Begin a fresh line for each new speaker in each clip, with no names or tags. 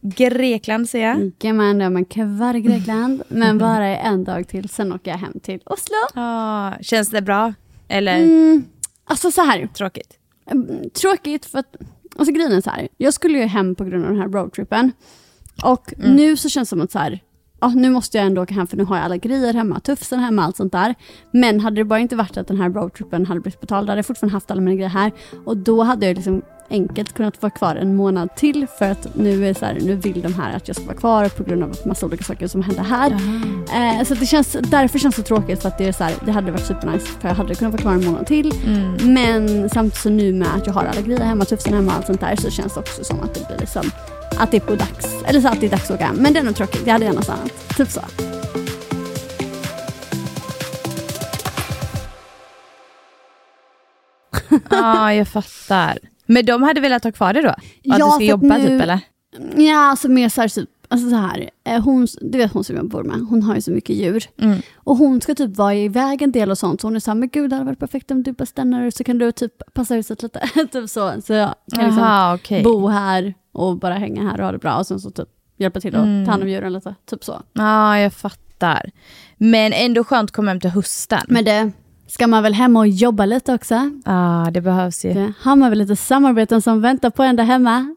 Grekland ser jag.
Jajamän, jag är kvar i Grekland, men bara en dag till, sen åker jag hem till Oslo.
Ah, känns det bra? Eller
Mm, alltså så här,
tråkigt?
mm, tråkigt för att, alltså grejen är så här, jag skulle ju hem på grund av den här roadtrippen. Och nu så känns det som att så här, ja, nu måste jag ändå åka hem för nu har jag alla grejer hemma, tufsen hemma, allt sånt där. Men hade det bara inte varit att den här roadtrippen hade blivit betald, då hade jag fortfarande haft alla mina grejer här. Och då hade jag liksom enkelt kunnat vara kvar en månad till för att nu är så här, nu vill de här att jag ska vara kvar på grund av att massa olika saker som hände här. Eh, så att det känns, därför känns det tråkigt för att det är så här, det hade varit supernice för jag hade kunnat vara kvar en månad till. Men samtidigt så nu med att jag har alla grejer hemma, tufsen hemma och allt sånt där så känns det också som att det blir liksom att det är på dags, eller så att det är dags att åka hem. Men det är nog tråkigt, jag hade gärna stannat. Typ så.
Ah, Ja, jag fattar. Men de hade velat ha kvar det då? Att
Ja,
du
för
ska
att
jobba
nu-
typ eller?
Ja, alltså mer så här, typ, alltså så här eh, hon, du vet hon som jag bor med, hon har ju så mycket djur.
Mm.
Och hon ska typ vara iväg en del och sånt, så hon är såhär, men gud det hade varit perfekt om du bara stannar så kan du typ passa huset lite. typ så, så jag kan liksom
Jaha, okej.
bo här och bara hänga här och ha det bra och sen så typ hjälpa till att ta hand
Mm.
om djuren lite. Typ så.
Ja, jag fattar. Men ändå skönt att komma hem till hösten.
Men det ska man väl hem och jobba lite också.
Ja, det behövs ju.
Det har man väl lite samarbeten som väntar på en där hemma.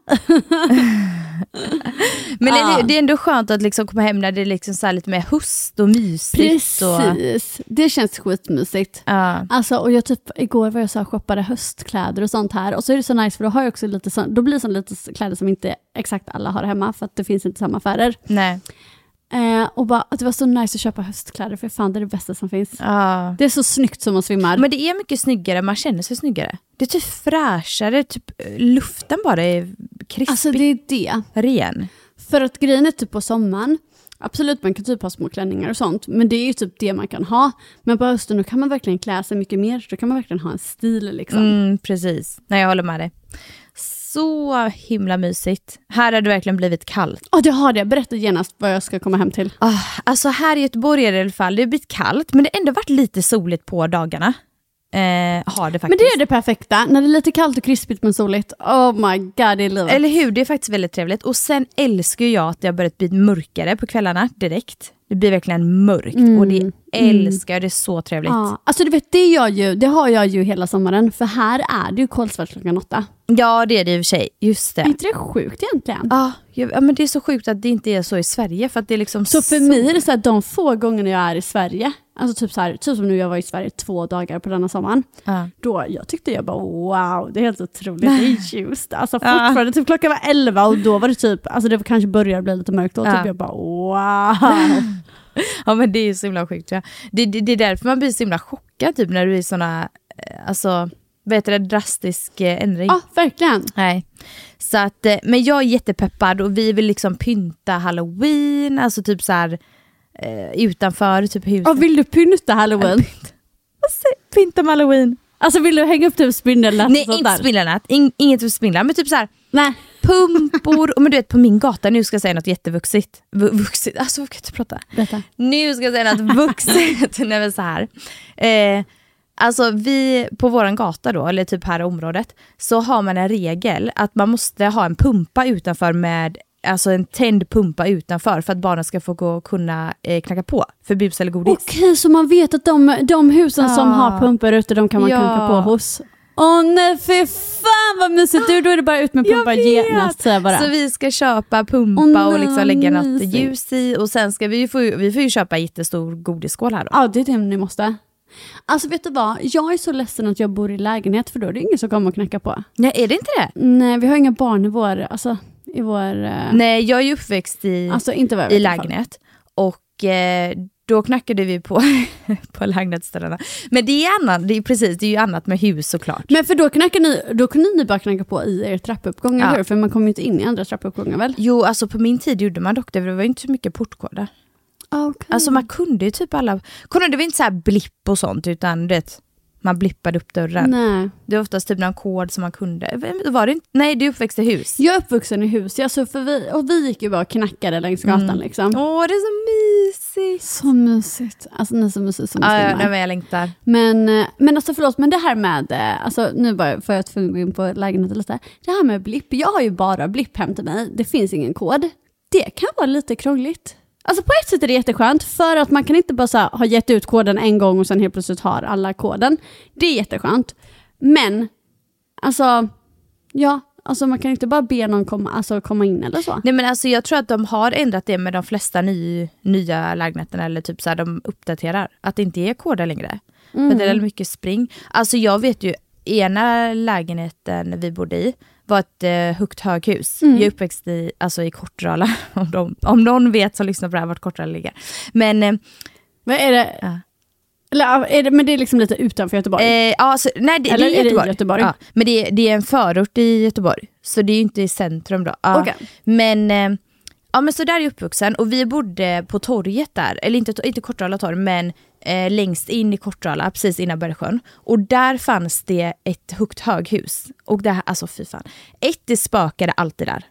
Men
Ja.
det, det är ändå skönt att liksom komma hem när det är liksom så här lite mer höst och mysigt. Och,
Precis, det känns skitmysigt.
Ja.
Alltså, och jag typ, igår var jag så här shoppade höstkläder och sånt här. Och så är det så nice för då har jag också lite sån, då blir det sån lite s- kläder som inte exakt alla har hemma för att det finns inte samma affärer.
nej.
Eh, och bara att det var så nice att köpa höstkläder för fan det är det bästa som finns.
Ja.
Det är så snyggt som man svimmar.
Men det är mycket snyggare, man känner sig snyggare. Det är typ fräschare, typ eh, luften bara är krispig,
alltså det är det.
ren.
För att grejen är typ på sommaren, absolut man kan typ ha små klänningar och sånt, men det är ju typ det man kan ha. Men på hösten då kan man verkligen klä sig mycket mer, då kan man verkligen ha en stil liksom.
Mm, precis, nej jag håller med dig. Så himla mysigt. Här har det verkligen blivit kallt.
Ja det har det, berätta genast vad jag ska komma hem till.
Ah, alltså här i Göteborg är det i alla fall, det har blivit kallt men det har ändå varit lite soligt på dagarna. Eh, har det faktiskt.
Men det är det perfekta, när det är lite kallt och krispigt men soligt. Oh my god, det är livet.
Eller hur, det är faktiskt väldigt trevligt. Och sen älskar ju jag att det har börjat bli mörkare på kvällarna direkt. Det blir verkligen mörkt och det älskar jag, det är så trevligt.
ja, alltså du vet, det, är jag ju, det har jag ju hela sommaren, för här är det ju kolsvart klockan åtta.
Ja det är det i och för sig, just det.
Är inte det sjukt egentligen?
Ja, jag- ja, men det är så sjukt att det inte är så i Sverige för att det är liksom
Så för mig är det så här, de få gångerna jag är i Sverige, alltså typ, så här, typ som nu jag var i Sverige två dagar på denna sommaren,
Ja.
då jag tyckte jag bara wow, det är helt otroligt, det är ljust. Alltså fortfarande, typ klockan var elva och då var det typ, alltså det kanske började bli lite mörkt, då
Ja.
typ jag bara wow.
Ja men det är ju så himla sjukt. Ja. Det, det, det är därför man blir så himla chockad typ när du är såna, eh, alltså vad heter det, drastisk eh, ändring.
Ja, verkligen.
Nej. Så att, eh, men jag är jättepeppad och vi vill liksom pynta halloween, alltså typ så här eh, utanför typ huset.
Och vill du pynta halloween?
Vad säger- Pynta med halloween.
Alltså vill du hänga upp typ spindelnät
Nej
och sånt
inte
där?
spindelnät, In, inget för spindlar men typ så här
Nej.
pumpor, men du vet på min gata, nu ska jag säga något jättevuxigt. V- vuxigt, alltså jag kan inte prata.
Berätta.
Nu ska jag säga något vuxet. Nej men så här. Eh, alltså vi på våran gata då, eller typ här i området, så har man en regel att man måste ha en pumpa utanför med Alltså en tänd pumpa utanför för att barnen ska få gå och kunna eh, knacka på för bus eller godis.
Okej, så man vet att de, de husen som
Ja.
har pumpar ute, de kan man
Ja.
knacka på hos. Åh nej, fy fan vad mysigt! Du, då är det bara ut med
Jag
pumpar
vet!
genast säger jag bara.
Så vi ska köpa pumpa
Åh, nej,
och liksom
vad
lägga något
mysigt.
ljus i och sen ska vi ju få, vi får ju köpa en jättestor godisskål här då.
Ja, det är det ni måste. Alltså vet du vad, jag är så ledsen att jag bor i lägenhet för då är det ingen som kommer och knackar på.
Nej är det inte det?
Nej, vi har inga barn i vår, alltså i vår... eh,
Nej jag är ju uppväxt i,
Alltså inte vad jag vet
i
alla fall.
lägenhet och eh, då knackade vi på, på lägenhetsdörrarna. Men det är, annat, det är precis, det är ju annat med hus såklart.
Men för då, knackar ni, då kunde ni bara knacka på i er trappuppgång, eller
Ja.
hur? För man kommer ju inte in i andra trappuppgångar väl?
Jo, alltså på min tid gjorde man dock det, för det var ju inte så mycket portkoder.
Okay.
Alltså man kunde ju typ alla, kolla det var inte så här blipp och sånt utan du vet, man blippade upp dörren.
Nej.
Det var oftast typ någon kod som man kunde. Vem- Var det inte? Nej, du uppväxte i hus.
Jag är uppvuxen i hus, jag, så för vi, och vi gick ju bara och knackade längs gatan liksom.
Mm. Åh, det är så mysigt.
Så mysigt. Alltså ni är så mysiga som
Ja, ja,
filmar.
nej, men jag längtar.
Men, eh, men alltså förlåt, men det här med, eh, alltså nu bara får jag tvungen att gå in på lägenheten lite. Det här med blipp, jag har ju bara blipp hem till mig, det finns ingen kod. Det kan vara lite krångligt. Alltså på ett sätt är det jätteskönt, för att man kan inte bara så här, ha gett ut koden en gång och sen helt plötsligt har alla koden. Det är jätteskönt. Men, alltså, ja, alltså man kan inte bara be någon komma, alltså, komma in eller så.
Nej, men alltså, jag tror att de har ändrat det med de flesta ny, nya lägenheterna, eller typ så här, de uppdaterar. Att det inte är koder längre.
Mm.
För det är mycket spring. Alltså jag vet ju, ena lägenheten vi bodde i var ett eh, högt höghus.
Mm.
Jag är uppväxt i, alltså, i Kortrala, om, de, om någon vet som lyssnar på det här vart Kortrala ligger. Men eh,
Men är det,
Ja.
eller, är det, men det är liksom lite utanför Göteborg?
Eh, ja, så, nej, det,
Eller
det
är
är
det i
Göteborg.
Göteborg?
Ja, men det, är- det är en förort i Göteborg, så det är ju inte i centrum då. Ja.
Okej.
Men, eh, ja, men så där är jag uppvuxen och vi bodde på torget där, eller inte, inte Kortrala torg, men eh, längst in i Kortrala, precis innan Bergsjön. Och där fanns det ett högt höghus. Och det här, alltså fy fan. Ett, det spökade alltid där.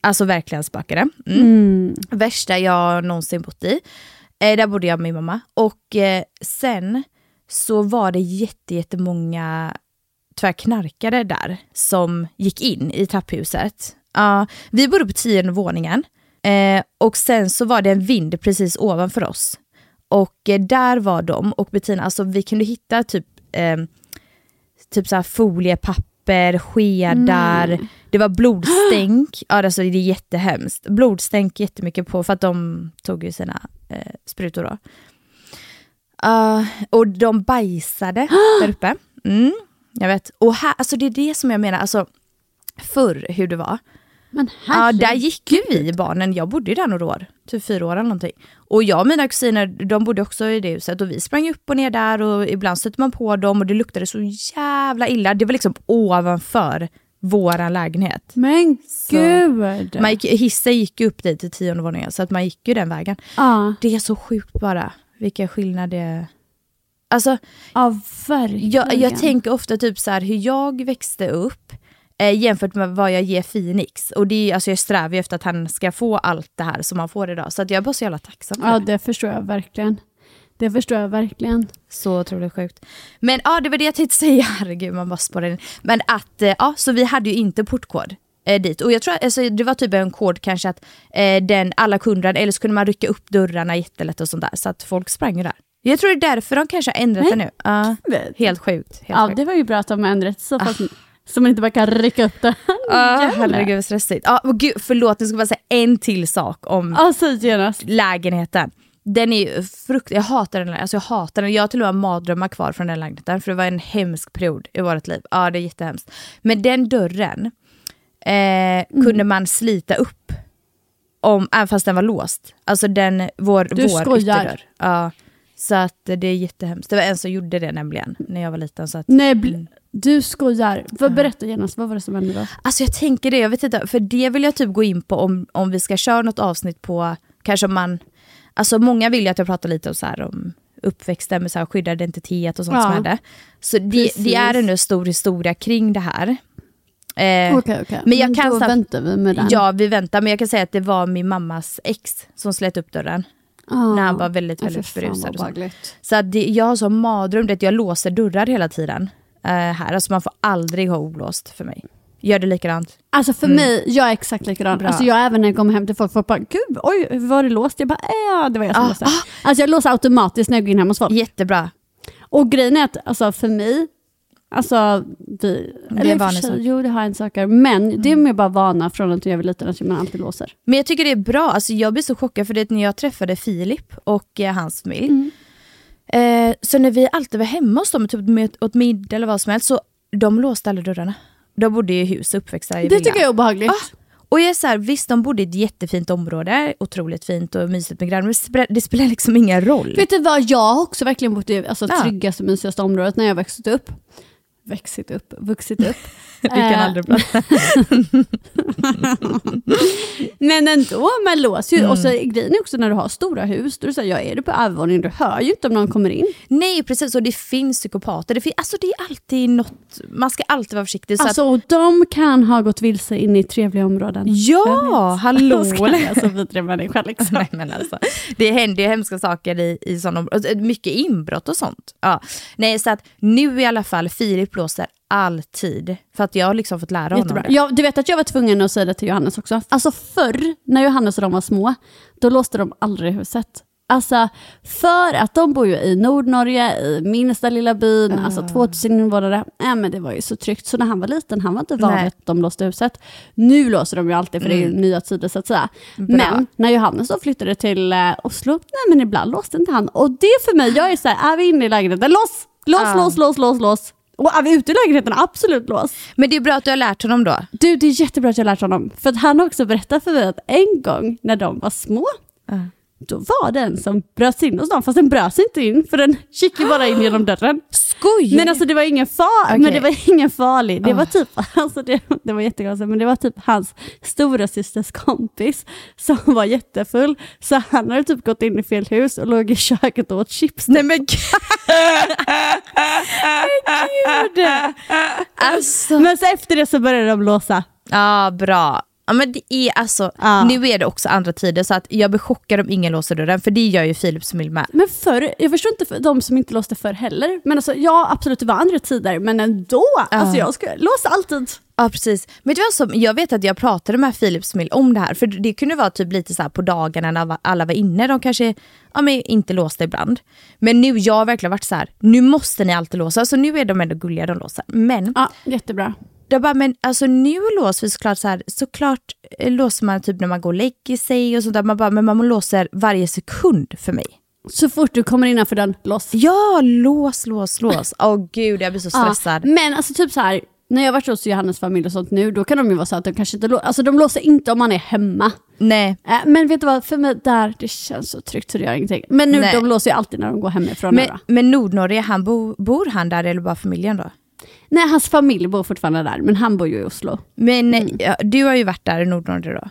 Alltså verkligen spökade. Mm. Värsta jag någonsin bott i. Eh, där bodde jag med min mamma. Och eh, sen så var det jätte, jättemånga tvärknarkare där som gick in i trapphuset. Ja, vi bodde på tionde våningen eh, och sen så var det en vind precis ovanför oss. Och eh, där var de och Bettina, alltså vi kunde hitta typ, eh, typ så här foliepapper, skedar, det var blodstänk, ja, alltså det är jättehemskt. Blodstänk jättemycket på för att de tog ju sina eh, sprutor då. Ja, och de bajsade där uppe. Mm, jag vet. Och här, alltså det är det som jag menar, alltså, förr hur det var.
men
Ja,
herregud.
där gick ju vi barnen, jag bodde ju där några år, typ fyra år eller någonting. Och jag och mina kusiner, de bodde också i det huset och vi sprang upp och ner där och ibland stötte man på dem och det luktade så jävla illa. Det var liksom ovanför våran lägenhet.
Men
Så-
gud!
Man gick, hissen gick ju upp dit till tionde våningen så att man gick ju den vägen.
ja.
Det är så sjukt bara, vilken skillnad det är. Alltså,
ja, verkligen.
Jag, jag tänker ofta typ så här hur jag växte upp eh, jämfört med vad jag ger Phoenix. Och det är, ju- alltså jag strävar ju efter att han ska få allt det här som han får idag. Så att jag är bara så jävla tacksam för
Ja,
det.
det förstår jag verkligen. Det förstår jag verkligen.
Så otroligt sjukt. Men ja, det var det jag tänkte säga. Herregud, man bara spårar in. Men att, eh, ja, så vi hade ju inte portkod eh, dit. Och jag tror alltså, det var typ en kod kanske att eh, den, alla kunder, eller så kunde man rycka upp dörrarna jättelätt och sånt där. Så att folk sprang ju där. Jag tror det är därför de kanske har ändrat det nu. Ja, helt sjukt. Helt
Ja,
sjukt.
det var ju bra att de har ändrat
Ah.
sig, så, fast- så man inte bara kan rycka upp det.
Ja, Ah, herregud vad stressigt. Ja, men gud, förlåt, nu ska jag bara säga en till sak om
Ja, Alltså, säg genast.
lägenheten. Den är ju frukt... Jag hatar den. lä- Alltså jag hatar den. Jag har till och med mardrömmar kvar från den lägenheten för det var en hemsk period i vårt liv. Ja, det är jättehemskt. Men den dörren eh,
Mm.
kunde man slita upp om, även fast den var låst. Alltså den, vår,
Du
vår
skojar.
ytterdörr. Ja. Så att eh, det är jättehemskt. Det var en som gjorde det nämligen när jag var liten. Så att,
Nej, bl- du skojar.
Ah.
Vad- Berätta genast, vad var det som hände då?
Alltså jag tänker det, jag vet inte, för det vill jag typ gå in på om, om vi ska köra något avsnitt på, kanske om man, alltså många vill ju att jag pratar lite om, så här om uppväxt där med så här skyddad identitet och sånt
Ja.
som hände. Så det,
Precis.
det är ändå en stor historia kring det här. Eh,
Okej, okej.
Men jag kan
då
sam-
väntar vi med den.
Ja, vi väntar. Men jag kan säga att det var min mammas ex som slet upp dörren.
Ah.
När han var väldigt,
Ja, fy
väldigt
fan,
berusad.
vad
och sånt.
obehagligt.
Så att det, jag har sån mardröm, det är att jag låser dörrar hela tiden. eh, här. Alltså man får aldrig ha olåst för mig. Gör det likadant.
Alltså för mig, jag är exakt likadan.
Mm. Bra.
Alltså jag även när jag kommer hem till folk, folk bara “Gud, oj, hur var det låst?” Jag bara "Äh, “Ja, det var jag som
Ah,
låste”. Alltså jag låser automatiskt när jag går in hemma hos folk.
Jättebra.
Och grejen är att alltså för mig, alltså vi...
Det är Mm.
i och för
vanesak.
sig, Jo, det har en sak. Men det är mer bara vana från att jag var liten, att man alltid låser.
Men jag tycker det är bra, alltså jag blir så chockad för det är när jag träffade Filip och eh, hans familj.
Mm.
Eh, så när vi alltid var hemma hos dem, typ med, åt middag eller vad som helst, så de låste alla dörrarna. De bodde ju i hus uppväxta i
Det
villa.
tycker jag är obehagligt.
Ah, och jag är så här, visst de bodde i ett jättefint område, otroligt fint och mysigt med grannar, men det spelar- det spelar liksom ingen roll.
Vet du vad, jag har också verkligen bott i alltså,
Ja.
tryggaste, mysigaste området när jag växte upp. Växit upp, vuxit upp.
Vi kan
Eh,
aldrig prata.
Men ändå, man låser ju. Och så
Mm.
grejen är också när du har stora hus, då är det så här, jag är du på övervåningen, du hör ju inte om någon kommer in.
Nej precis, och det finns psykopater. Det, fin- alltså, det är alltid något, man ska alltid vara försiktig. Så att,
Alltså, och de kan ha gått vilse in i trevliga områden.
ja, hallå!
Då ska jag alltså vidriga människa liksom.
Nej, men alltså, det händer ju hemska saker i, i sådana områden. eh, Mycket inbrott och sånt. Ja. Nej, så att nu i alla fall, Filip blåser alltid. För att jag har liksom fått lära honom
Jättebra.
det.
Jag, du vet att jag var tvungen att säga det till Johannes också. Alltså förr, när Johannes och de var små, då låste de aldrig huset. Alltså för att de bor ju i Nordnorge, i minsta lilla byn,
Ah.
alltså 2000 invånare. Äh, men det var ju så tryggt. Så när han var liten, han var inte van
Nej. Mm.
vid att de låste huset. Nu låser de ju alltid för det är ju nya tider så att säga.
Bra.
Men när Johannes då flyttade till eh, Oslo, nej men ibland låste inte han. Och det för mig, jag är så här, är vi inne i lägenheten, lås! Lås,
Ja.
lås, lås, lås, lås. Och är vi ute i lägenheten, absolut lås.
Men det är bra att du har lärt honom då.
Du, det är jättebra att jag har lärt honom. För att han har också berättat för mig att en gång när de var små, då var det en som bröt sig in hos dem. Fast den bröt sig inte in, för den gick ju bara in genom dörren.
Skoj!
Men alltså det var ingen far,
Okej.
men det var ingen farlig. Det var
Ah.
typ, alltså det, det var jättekonstigt, men det var typ hans stora systers kompis som var jättefull. Så han hade typ gått in i fel hus och låg i köket och åt chips.
Nej men gud! men gud! Alltså.
Men så efter det så började de låsa.
Ja, bra. Ja, men det är alltså,
Ja.
Nu är det också andra tider så att jag blir chockad om ingen låser dörren för det gör ju Filips familj med.
Men förr, jag förstår inte för de som inte låste förr heller. Men alltså, ja absolut det var andra tider, men ändå. Alltså jag ska låsa alltid.
Ja precis. Men det var som, jag vet att jag pratade med Philips Mill om det här. För det kunde vara typ lite så här på dagarna när alla var inne. De kanske ja, men inte låste ibland. Men nu, jag har verkligen varit så här. nu måste ni alltid låsa. Så nu är de ändå gulliga de låser. Men
Ja, jättebra.
jag bara, men alltså nu låser vi såklart så här, såklart eh, låser man typ när man går och lägger sig och sånt där. Man bara, men man låser varje sekund för mig.
Så fort du kommer innanför den, lås.
Ja, lås, lås, lås. Åh gud, jag blir så stressad.
Ja, men alltså typ så här, när jag varit hos Johannes familj och sånt nu, då kan de ju vara så att de kanske inte låser, alltså de låser inte om man är hemma.
Nej.
Äh, men vet du vad, för mig där, det känns så tryggt så det gör ingenting. Men nu,
Nej.
de låser ju alltid när de går hemifrån. nu
Men,
då.
men Nordnorge, han bo, bor han där eller bara familjen då?
Nej, hans familj bor fortfarande där, men han bor ju i Oslo.
Men ja, du har ju varit där i Nordnorge då.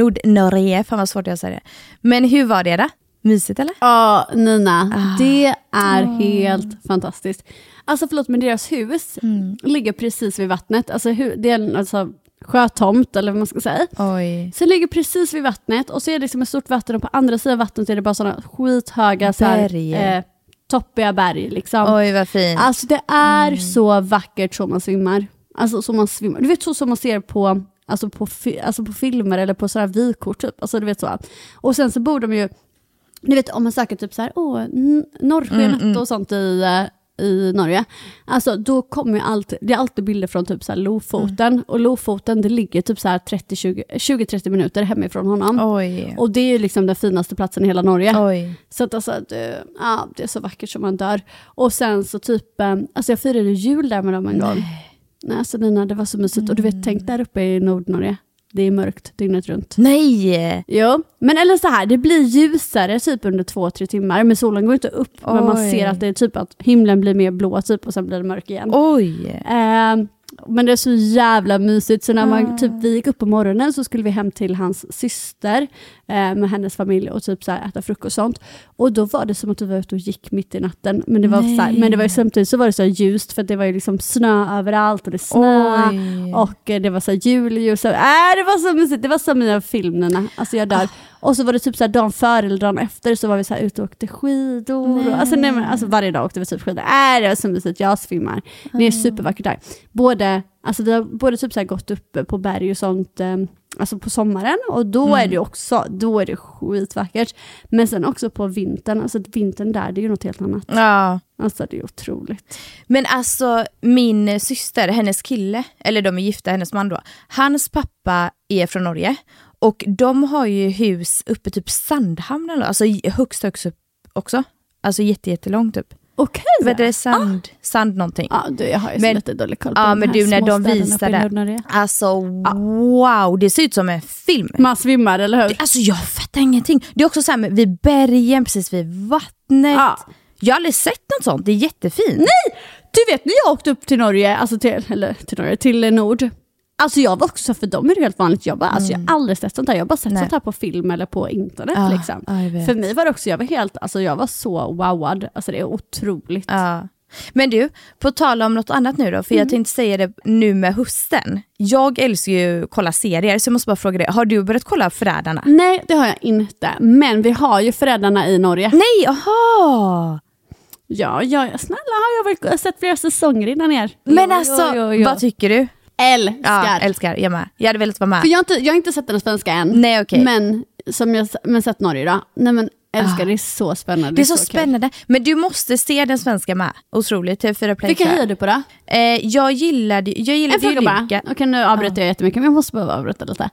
Nordnorge, fan vad svårt jag säger det. Men hur var det då? Mysigt eller?
Ja, Nina.
Ah.
Det är helt fantastiskt. Alltså förlåt, men deras hus
Mm.
ligger precis vid vattnet. Alltså, hu- det är en alltså, sjötomt, eller vad man ska säga.
Oj.
Så det ligger precis vid vattnet och så är det liksom ett stort vatten och på andra sidan vattnet är det bara sådana skithöga, så
Berg.
här, eh, toppiga berg. Liksom.
Oj vad fint. Mm.
Alltså det är så vackert så man svimmar. Alltså så man svimmar. Du vet så som man ser på, alltså på, fi- alltså på filmer eller på sådana här vykort typ. Alltså du vet så. Och sen så bor de ju, du vet om man söker typ så här, åh, N- norrsken
Mm,
och sånt i, eh, i Norge. Alltså då kommer ju alltid, det är alltid bilder från typ så här Lofoten.
Mm.
Och Lofoten det ligger typ så här 30, 20-30 minuter hemifrån honom.
Oj.
Och det är ju liksom den finaste platsen i hela Norge.
Oj.
Så att alltså, det, ja, det är så vackert som man dör. Och sen så typ, eh, alltså jag firade jul där med dem en gång. Nej, alltså Nina, det var så mysigt. Och du vet, tänk där uppe i Nordnorge. Det är mörkt dygnet runt.
Nej!
Jo, men eller så här, det blir ljusare typ under två, tre timmar. Men solen går inte upp, men man
Oj.
ser att det är typ att himlen blir mer blå typ och sen blir det mörk igen.
Oj.
Eh, Men det är så jävla mysigt. Så när man, typ, vi gick upp på morgonen så skulle vi hem till hans syster eh, med hennes familj och typ så här, äta frukost och sånt. Och då var det som att vi var ute och gick mitt i natten. Men det var, så här, men det var ju samtidigt så var det så här ljust för att det var ju liksom snö överallt och det snö
Oj.
och eh, det var så här julljus. Så, äh, det var så mysigt. Det var som i de här filmerna. Alltså jag dör. Och så var det typ så här dagen före eller dagen efter så var vi så här ute och åkte skidor. Och, alltså, nej, men, alltså varje dag åkte vi typ skidor. Äh, det var så mysigt. Jag svimmar. Det är
Ah.
supervackert där. Både, alltså, vi har både typ så här gått upp på berg och sånt eh, alltså på sommaren och då
Mm.
är det också då är det skitvackert. Men sen också på vintern, alltså vintern där det är ju något helt annat.
Ja.
Alltså det är otroligt.
Men alltså min eh, syster, hennes kille, eller de är gifta, hennes man då, hans pappa är från Norge och de har ju hus uppe typ Sandhamn eller alltså j- högst högst upp också. Alltså jätte, jättelångt typ.
Okej!
Vad heter det? Sand, sand någonting.
Ja, du, jag har ju så
Men-
lite dålig koll på
Ja
de
men
här
du när de
småstäderna uppe i
visade.
Nordnorge.
Alltså wow, det ser ut som en film.
Man svimmar, eller hur?
Det- Alltså jag fattar ingenting. Det är också så här med, vid bergen, precis vid vattnet.
Ja.
Jag har aldrig sett något sånt, det är jättefint.
Nej! Du vet när jag åkte upp till Norge, alltså till, eller till Norge, till eh, Nord. Alltså jag var också så här, för dem är det helt vanligt. Jag, bara, alltså jag har aldrig sett sånt här. Jag har bara sett
Mm. Nej.
sånt här på film eller på internet.
Ja,
liksom.
ja, jag vet.
för mig var det också, jag var helt, alltså jag var så wowad. Alltså det är otroligt.
Ja. Men du, på tal om något annat nu då, för
Mm.
jag tänkte säga det nu med hösten. Jag älskar ju att kolla serier, så jag måste bara fråga dig, har du börjat kolla Förrädarna?
Nej, det har jag inte. Men vi har ju Förrädarna i Norge.
Nej, aha!
Ja, ja, ja, snälla har jag väl sett flera säsonger innan er?
Men
Jo,
alltså,
jo, jo, jo.
vad tycker du? Ja,
Älskar!
älskar, jag med. Jag hade velat vara med.
För jag har inte, jag har inte sett den svenska än.
Nej, okej.
Men som jag men sett Norge då. Nej men älskar, det är så spännande.
Ah. det är så,
kul.
spännande. Men du måste se den svenska med. Otroligt, TV4 Play.
Vilka
tror jag.
hejar du på då?
Eh, jag gillade, jag
En
gillade ju
fråga bara.
Luka.
Okej nu avbryter jag jättemycket men jag måste behöva avbryta lite.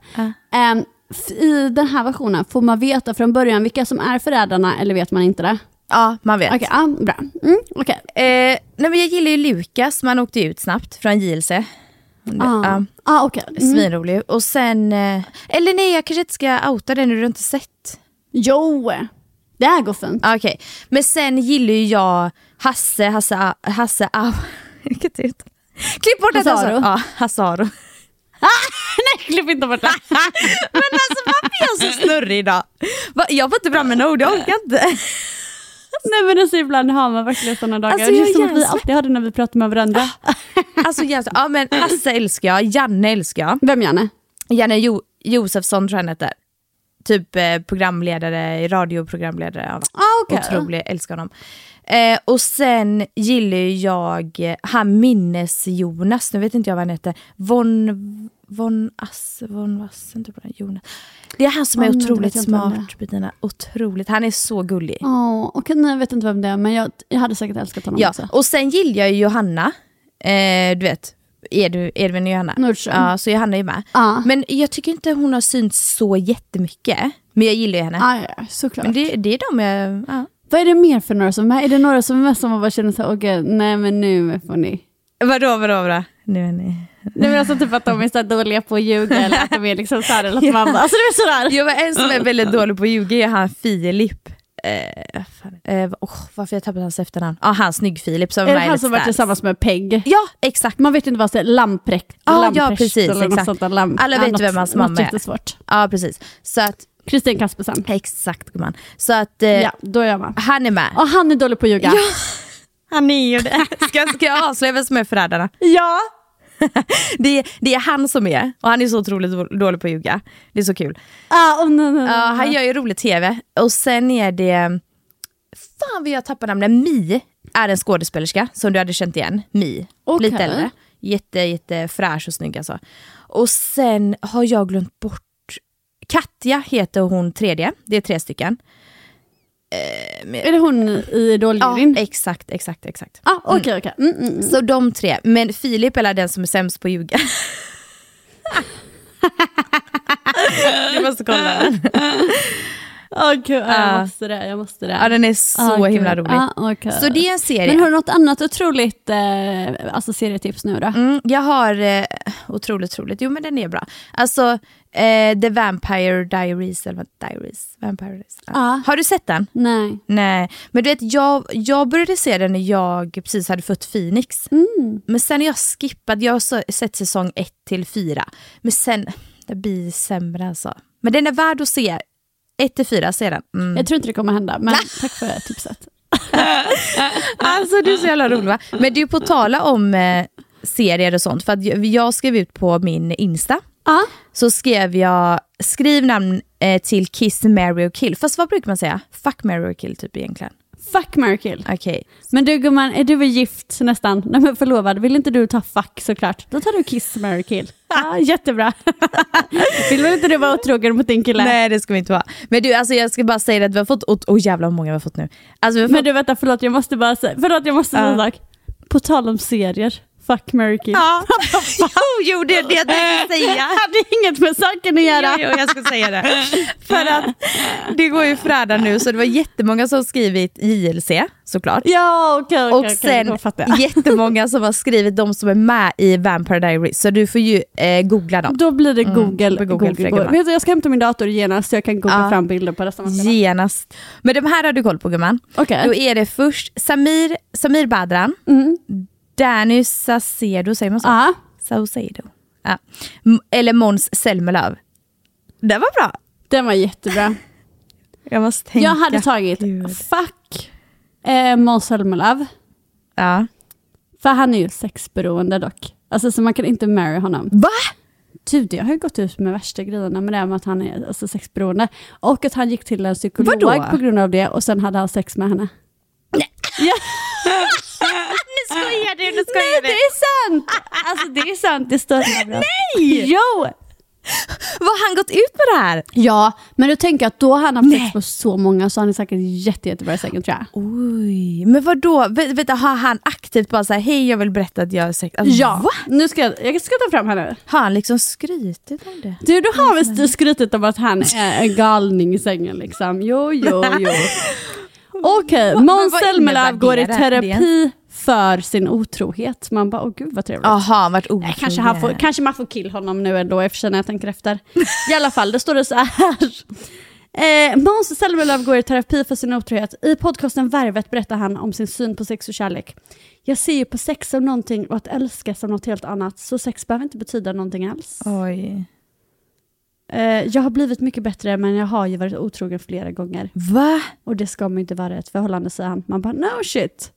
Ehm, f- I den här versionen, får man veta från början vilka som är förrädarna eller vet man inte det?
Ja, man vet.
Okej, ja, bra. Mm, okej.
Eh, nej, men jag gillar ju Lukas, man åkte ju ut snabbt från JLC.
Ah.
Ja.
Ah, okej. Mm.
Svinrolig. Och sen... eh, Eller nej, jag kanske inte ska outa den när du inte sett.
Jo, det här går fint.
Ah, Okej. Men sen gillar ju jag Hasse, Hasse, A- Hasse Au... Vilket ut. Klipp bort det
Hasse Aro.
Ja, Hasse Aro.
Nej, klipp inte bort det.
Men alltså varför är jag så snurrig idag? Va? Jag var inte bra med ord, jag orkar inte.
Nej men alltså ibland har man verkligen sådana dagar.
Alltså,
det
jag
är som att vi
jävlar.
alltid har det när vi pratar med varandra.
Alltså jävlar. Ja men Hasse älskar jag, Janne älskar jag.
Vem Janne?
Janne jo- Josefsson tror jag han heter. Typ eh, programledare, radioprogramledare. Ja.
Ah, okej.
Otrolig, älskar honom. Eh, och sen gillar ju jag eh, han Minnes-Jonas, nu vet inte jag vad han heter. Von, von Ass, von Vassen, typ vad han- Jonas. Det är han som är
Ja, men det
otroligt
vet jag inte vem
smart, Bettina. Otroligt. Han är så gullig.
Oh, Okej, nej, jag vet inte vem det är, men jag, jag hade säkert älskat honom
Ja,
också.
och sen gillar jag ju Johanna. Eh, du vet, Edu, Edvin och Johanna.
Nordström.
Ja, så Johanna är ju med.
Ja.
Men jag tycker inte hon har synts så jättemycket. Men jag gillar ju henne.
Ah, ja, såklart.
Men det, det är de jag... Ja.
Vad är det mer för några som är med? Är det några som är med som man bara känner såhär, åh gud, nej men nu får ni...
Vadå, vadå, vadå? Nu är ni...
Nej men alltså typ att de är så här dåliga på att ljuga eller att de är liksom såhär eller att man bara, alltså det är sådär.
Jag var en som är väldigt dålig på att ljuga är han Filip. Eh, fan. eh, oh, varför har jag tappat hans efternamn? Ja, ah, han snygg-Filip som
Är det
var i
han
Let's
som varit
Dance.
tillsammans med Peg?
Ja, exakt.
Man vet inte vad det är, Lamprecht,
Ja, ja,
Lamprecht
precis,
eller något
exakt.
sånt där. Lam-
Alla vet
något-
vem hans mamma
något
är.
jättesvårt.
Ja, precis. Så att...
Kristin Kaspersen.
Exakt gumman. Så att eh,
Ja, då är jag med.
han är med.
Och han är dålig på att ljuga.
Ja. Han är ju det. Ska, ska jag avslöja vem som är förrädarna?
ja.
Det, är- det är han som är, och han är så otroligt då- dålig på att ljuga. Det är så kul.
Ah, oh, nej, nej, nej.
Ja, han gör ju rolig tv. Och sen är det, fan vad jag tappar namnet, Mi är en skådespelerska som du hade känt igen. Mi,
Okej.
lite äldre. Jätte, jätte fräsch och snygg alltså. Och sen har jag glömt bort, Katja heter hon tredje, det är tre stycken.
Är det hon i
Ja,
Idoljuryn?
exakt, exakt, exakt.
ah, okej okej. Mm, mm, mm.
Så de tre, men Filip är väl den som är sämst på att ljuga. Du måste kolla.
Åh gud,
Ja.
jag måste det. Jag måste det.
Ja, den är så
Åh,
himla
Ah, gud.
rolig.
Ja, åh, gud.
Så det är en serie.
Men har du något annat otroligt eh, alltså serietips nu då?
Mm, jag har, eh, otroligt otroligt, jo men den är bra. Alltså, eh, The Vampire Diaries, eller vad, Diaries? Vampire Diaries. Ja.
Ja.
Har du sett den?
Nej.
Nej, men du vet jag, jag började se den när jag precis hade fått Phoenix. Men sen har jag skippat, jag har så- sett säsong 1 till 4. Men sen, det blir sämre alltså. Men den är värd att se. 1 till 4 ser den. Mm.
Jag tror inte det kommer hända, men tack för tipset.
Alltså du är så jävla rolig va? Men du på tala om eh, serier och sånt, för att jag, jag skrev ut på min Insta,
Ja.
så skrev jag, skriv namn eh, till Kiss, Mary och Kill. Fast vad brukar man säga? Fuck, Mary och Kill typ egentligen.
Fuck, marry, kill.
Okej.
Men du gumman, är du väl gift nästan? Nej men förlovad, vill inte du ta fuck såklart? Då tar du kiss, marry, kill. Ja, jättebra. vill väl inte du vara otrogen mot din kille?
Nej det ska vi inte vara. Men du alltså jag ska bara säga att vi har fått, åh oh, jävlar hur många vi har fått nu. Alltså, vi har fått,
Men du vänta, förlåt jag måste bara säga, förlåt jag måste säga en sak. På tal om serier, fuck, marry, kill.
ja. jo, jo det är det jag tänkte säga.
hade inget med saken att göra.
Jo, jo, jag ska säga det. För att det går ju fredag nu så det var jättemånga som skrivit JLC såklart.
Ja, okej,
Och
okej, okej,
sen
då fattar jag.
jättemånga som har skrivit de som är med i Vampire Diaries. Så du får ju eh, googla dem.
Då blir det Google.
det Mm, blir Google
Google,
för det,
Google.
gumman.
Vet du, jag ska hämta min dator genast så jag kan googla
Ja.
fram bilder på resten av ställen.
Genast. Men de här har du koll på gumman.
Okej.
Då är det först Samir, Samir Badran, Danny Saucedo, säger man så?
Ja.
Saucedo. Ja. M- Eller Måns Zelmerlöw. Det var bra.
Den var jättebra.
Jag måste tänka.
Jag hade tagit
Gud.
fuck eh, Måns Zelmerlöw.
Ja.
För han är ju sexberoende dock. Alltså så man kan inte marry honom.
Va?
Gud, jag har ju gått ut med värsta grejerna med det här med att han är alltså, sexberoende. Och att han gick till en psykolog
Vadå?
på grund av det och sen hade han sex med henne.
Nu skojar du, nu
Nej, det är sant! Alltså det är sant, det står Nej! Jo!
Vad har han gått ut med det här?
Ja, men du tänker att då har han haft
Nej. Oh,
sex på så många så han är säkert jätte, jättebra i sängen tror jag.
Oj, men vadå? Vä- Vänta, har han aktivt bara såhär, hej jag vill berätta att jag är sex... Alltså,
Ja,
va?
nu ska jag, jag ska ta fram henne.
Har han liksom skrytit om det?
Du, du har väl st- skrutit om att han är en galning i sängen liksom. Jo, jo, jo. Okej,
men
Måns
vad
Zelmerlöw
innebär
går i
det?
terapi för sin otrohet. Man bara, åh gud vad trevligt.
Jaha, han varit otrogen.
Nej, Kanske, han får, kanske man får kill honom nu ändå i och för sig när jag tänker efter. I alla fall, då står det så här. Eh, Måns Zelmerlöw går i terapi för sin otrohet. I podcasten Värvet berättar han om sin syn på sex och kärlek. Jag ser ju på sex som någonting och att älska som något helt annat, så sex behöver inte betyda någonting alls.
Oj.
Eh, jag har blivit mycket bättre, men jag har ju varit otrogen flera gånger.
Va?
Och det ska man ju inte vara i ett förhållande, säger han. Man bara, no shit.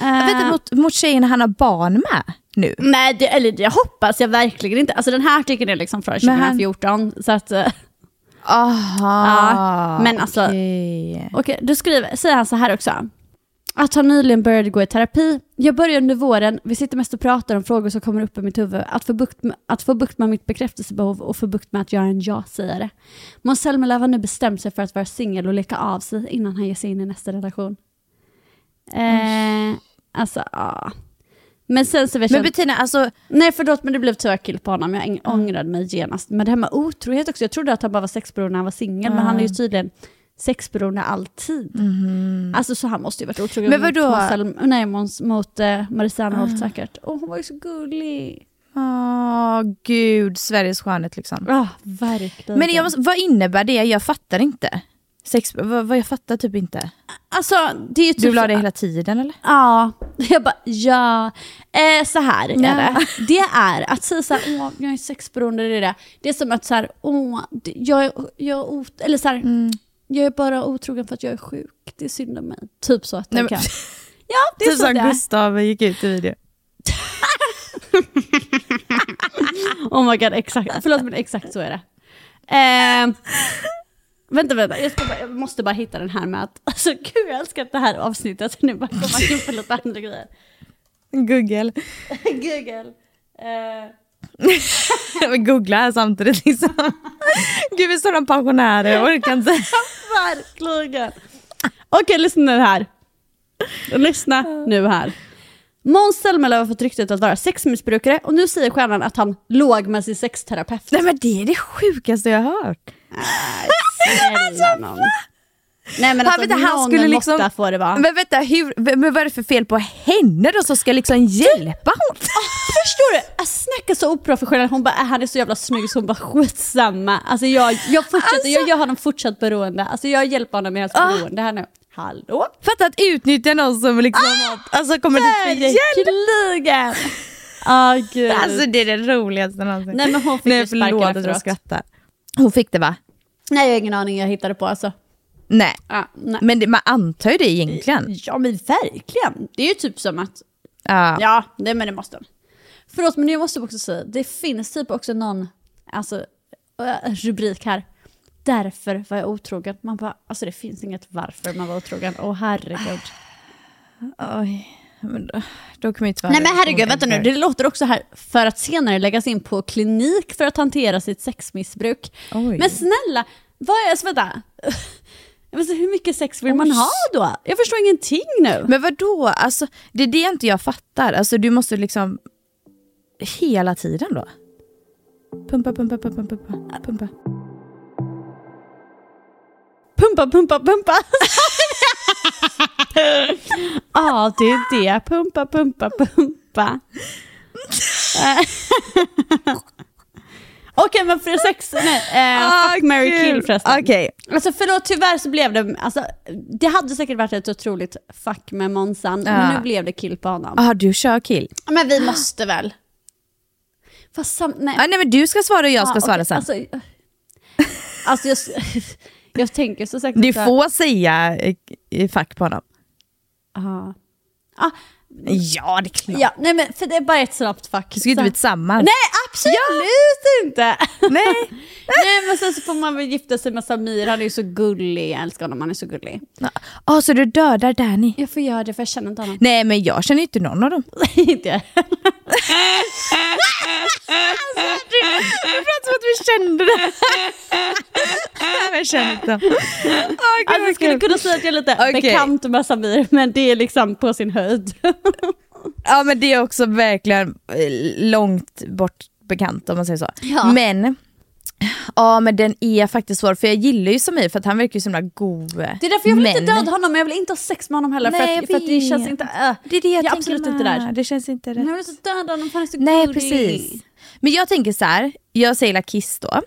Jag vet inte, mot, mot tjejen han har barn med nu.
Nej, det, eller det hoppas jag verkligen inte. Alltså den här artikeln är liksom från
Men han-
2014, så att... eh,
Aha.
Ja, men alltså-
Ah, okej.
Okej, då skriver, säger han så här också. Att han nyligen började gå i terapi. Jag började under våren, vi sitter mest och pratar om frågor som kommer upp i mitt huvud. Att få bukt med, att få bukt med mitt bekräftelsebehov och få bukt med att jag är en ja-sägare. Måns Zelmerlöw har nu bestämt sig för att vara singel och leka av sig innan han ger sig in i nästa relation. Eh, alltså, ja. Men sen så vet
Men
jag...
Bettina, alltså...
Nej förlåt men det blev tyvärr kill på honom, jag äng- ångrade mig genast. Men det här med otrohet också, jag trodde att han bara var sexberoende när han var singel, men han är ju tydligen sexberoende alltid. Alltså så han måste ju varit otrogen
Mhm. Men vadå? Ah.
mot, Marcel, nej, mot, mot eh, Marisanne Holt säkert. Åh hon var ju så gullig.
Åh, gud. Sveriges skönhet liksom.
Ja, verkligen.
Men jag måste, vad innebär det? Jag fattar inte. Sex, vad, vad jag fattar typ inte.
Alltså det är ju typ...
Du vill ha det hela tiden eller?
Ja, jag bara ja. Eh, så här är
Ja.
det. Det är att säga så här, åh jag är sexberoende, det är det. Det är som att så här, åh, det- jag är, jag är ot- eller så här, jag är bara otrogen för att jag är sjuk, det är synd om mig. Typ så att
Nej,
jag
men-
kan. Ja, det är Typ så det är.
Typ Gustav gick ut i video.
Oh my god, exakt. Förlåt men exakt så är det. Eh, vänta, vänta. Jag, ska bara, jag måste bara hitta den här med att... Alltså gud, jag älskar att det här avsnittet nu bara kommer in på lite andra grejer.
Google.
Google. Eh,
Googla här samtidigt liksom. Gud vi står som pensionärer, jag orkar inte.
Verkligen. Okej, lyssna nu här. Lyssna nu här. Måns Zelmerlöw har fått ryktet att vara sexmissbrukare och nu säger stjärnan att han låg med sin sexterapeut.
Nej men alltså, det är det sjukaste jag har hört.
Snälla nån. Nej men
Han
alltså,
vet inte, han
någon
skulle liksom-
måtta får det vara.
Men vänta, hur, v- men vad är det för fel på henne då som ska liksom
Typ.
hjälpa honom?
Ah, Förstår du? Jag snackar så oprofessionellt. Hon bara, "Äh, han är så jävla snygg så hon bara skitsamma. Alltså jag, jag fortsätter,
Alltså-
jag gör honom fortsatt beroende. Alltså jag hjälper honom med hans
Ah.
beroende här nu. Hallå?
Fatta att utnyttja någon som liksom
Ah!
har- alltså kommer dit för hjälp.
Verkligen! Ah, gud.
Alltså det är det roligaste någonsin.
Nej, men hon fick ju sparken
förlåt att jag
efteråt.
skrattar. Hon fick det va?
Nej jag har ingen aning, jag hittade på alltså.
Nej.
Ah, nej.
Men det, man antar ju det egentligen.
Ja men verkligen. Det är ju typ som att,
Ja.
ja, det, men det måste de. Förlåt men jag måste också säga, det finns typ också någon alltså, eh, rubrik här. Därför var jag otrogen. Man bara, alltså det finns inget varför man var otrogen. Åh herregud.
Oj. Men då, då kommer ju inte vara
Nej men herregud, vänta nu. Det låter också här för att senare läggas in på klinik för att hantera sitt sexmissbruk.
Oj.
Men snälla, vad är, alltså, vänta. Jag menar, hur mycket sex vill man ha då? Jag förstår ingenting nu.
Men vadå? Alltså, det är det inte jag fattar. Alltså, du måste liksom... Hela tiden då? Pumpa, pumpa, pumpa, pumpa. pumpa.
Pumpa, pumpa, pumpa. Ja, det är det. Pumpa, pumpa, pumpa. Eh. Okej, men för sex... Nej, eh, fuck, marry, kill förresten.
Okej.
Alltså förlåt, tyvärr så blev det... Alltså, det hade säkert varit ett otroligt fuck med Monsan, men
Ja.
nu blev det kill på honom.
Ah, du kör kill.
Men vi måste väl? Fast sam- nej.
Ah, nej, men du ska svara och jag ska
Ja,
svara
okej,
sen.
Alltså, alltså jag, s- jag tänker så säkert...
du
så här-
får säga eh, eh, fuck på honom.
Ja. Ah,
Ja, det är klart.
ja, nej men för det är bara ett snabbt fuck.
Ska ju inte
Så-
bli tillsammans?
Nej, absolut inte!
Nej.
nej, men sen så får man väl gifta sig med Samir, han är ju så gullig. Jag älskar honom, han är så gullig.
Ah, så du dödar Danny?
Jag får göra det för jag känner inte honom.
Nej, men jag känner ju inte någon av dem.
inte jag.
Det pratar som att vi kände det. Nej, men jag känner inte dem. Ah,
Alltså, jag skulle kunna säga att jag är lite
Okej.
bekant med Samir, men det är liksom på sin höjd.
Ja men det är också verkligen eh, långt bort bekant om man säger så.
Ja.
Men, ja men den är faktiskt svår för jag gillar ju Samir för att han verkar ju så himla god.
Det är därför jag vill
men,
inte döda honom, men jag vill inte ha sex med honom heller.
Nej,
för, att,
jag
för att det
vet.
känns inte... Äh,
Det är det jag
jag är
tänker
absolut inte
med.
där.
Det känns inte rätt.
Men jag vill inte döda honom, för han är så
Nej
gullig.
precis. Men jag tänker så här. jag säger La Kiss då.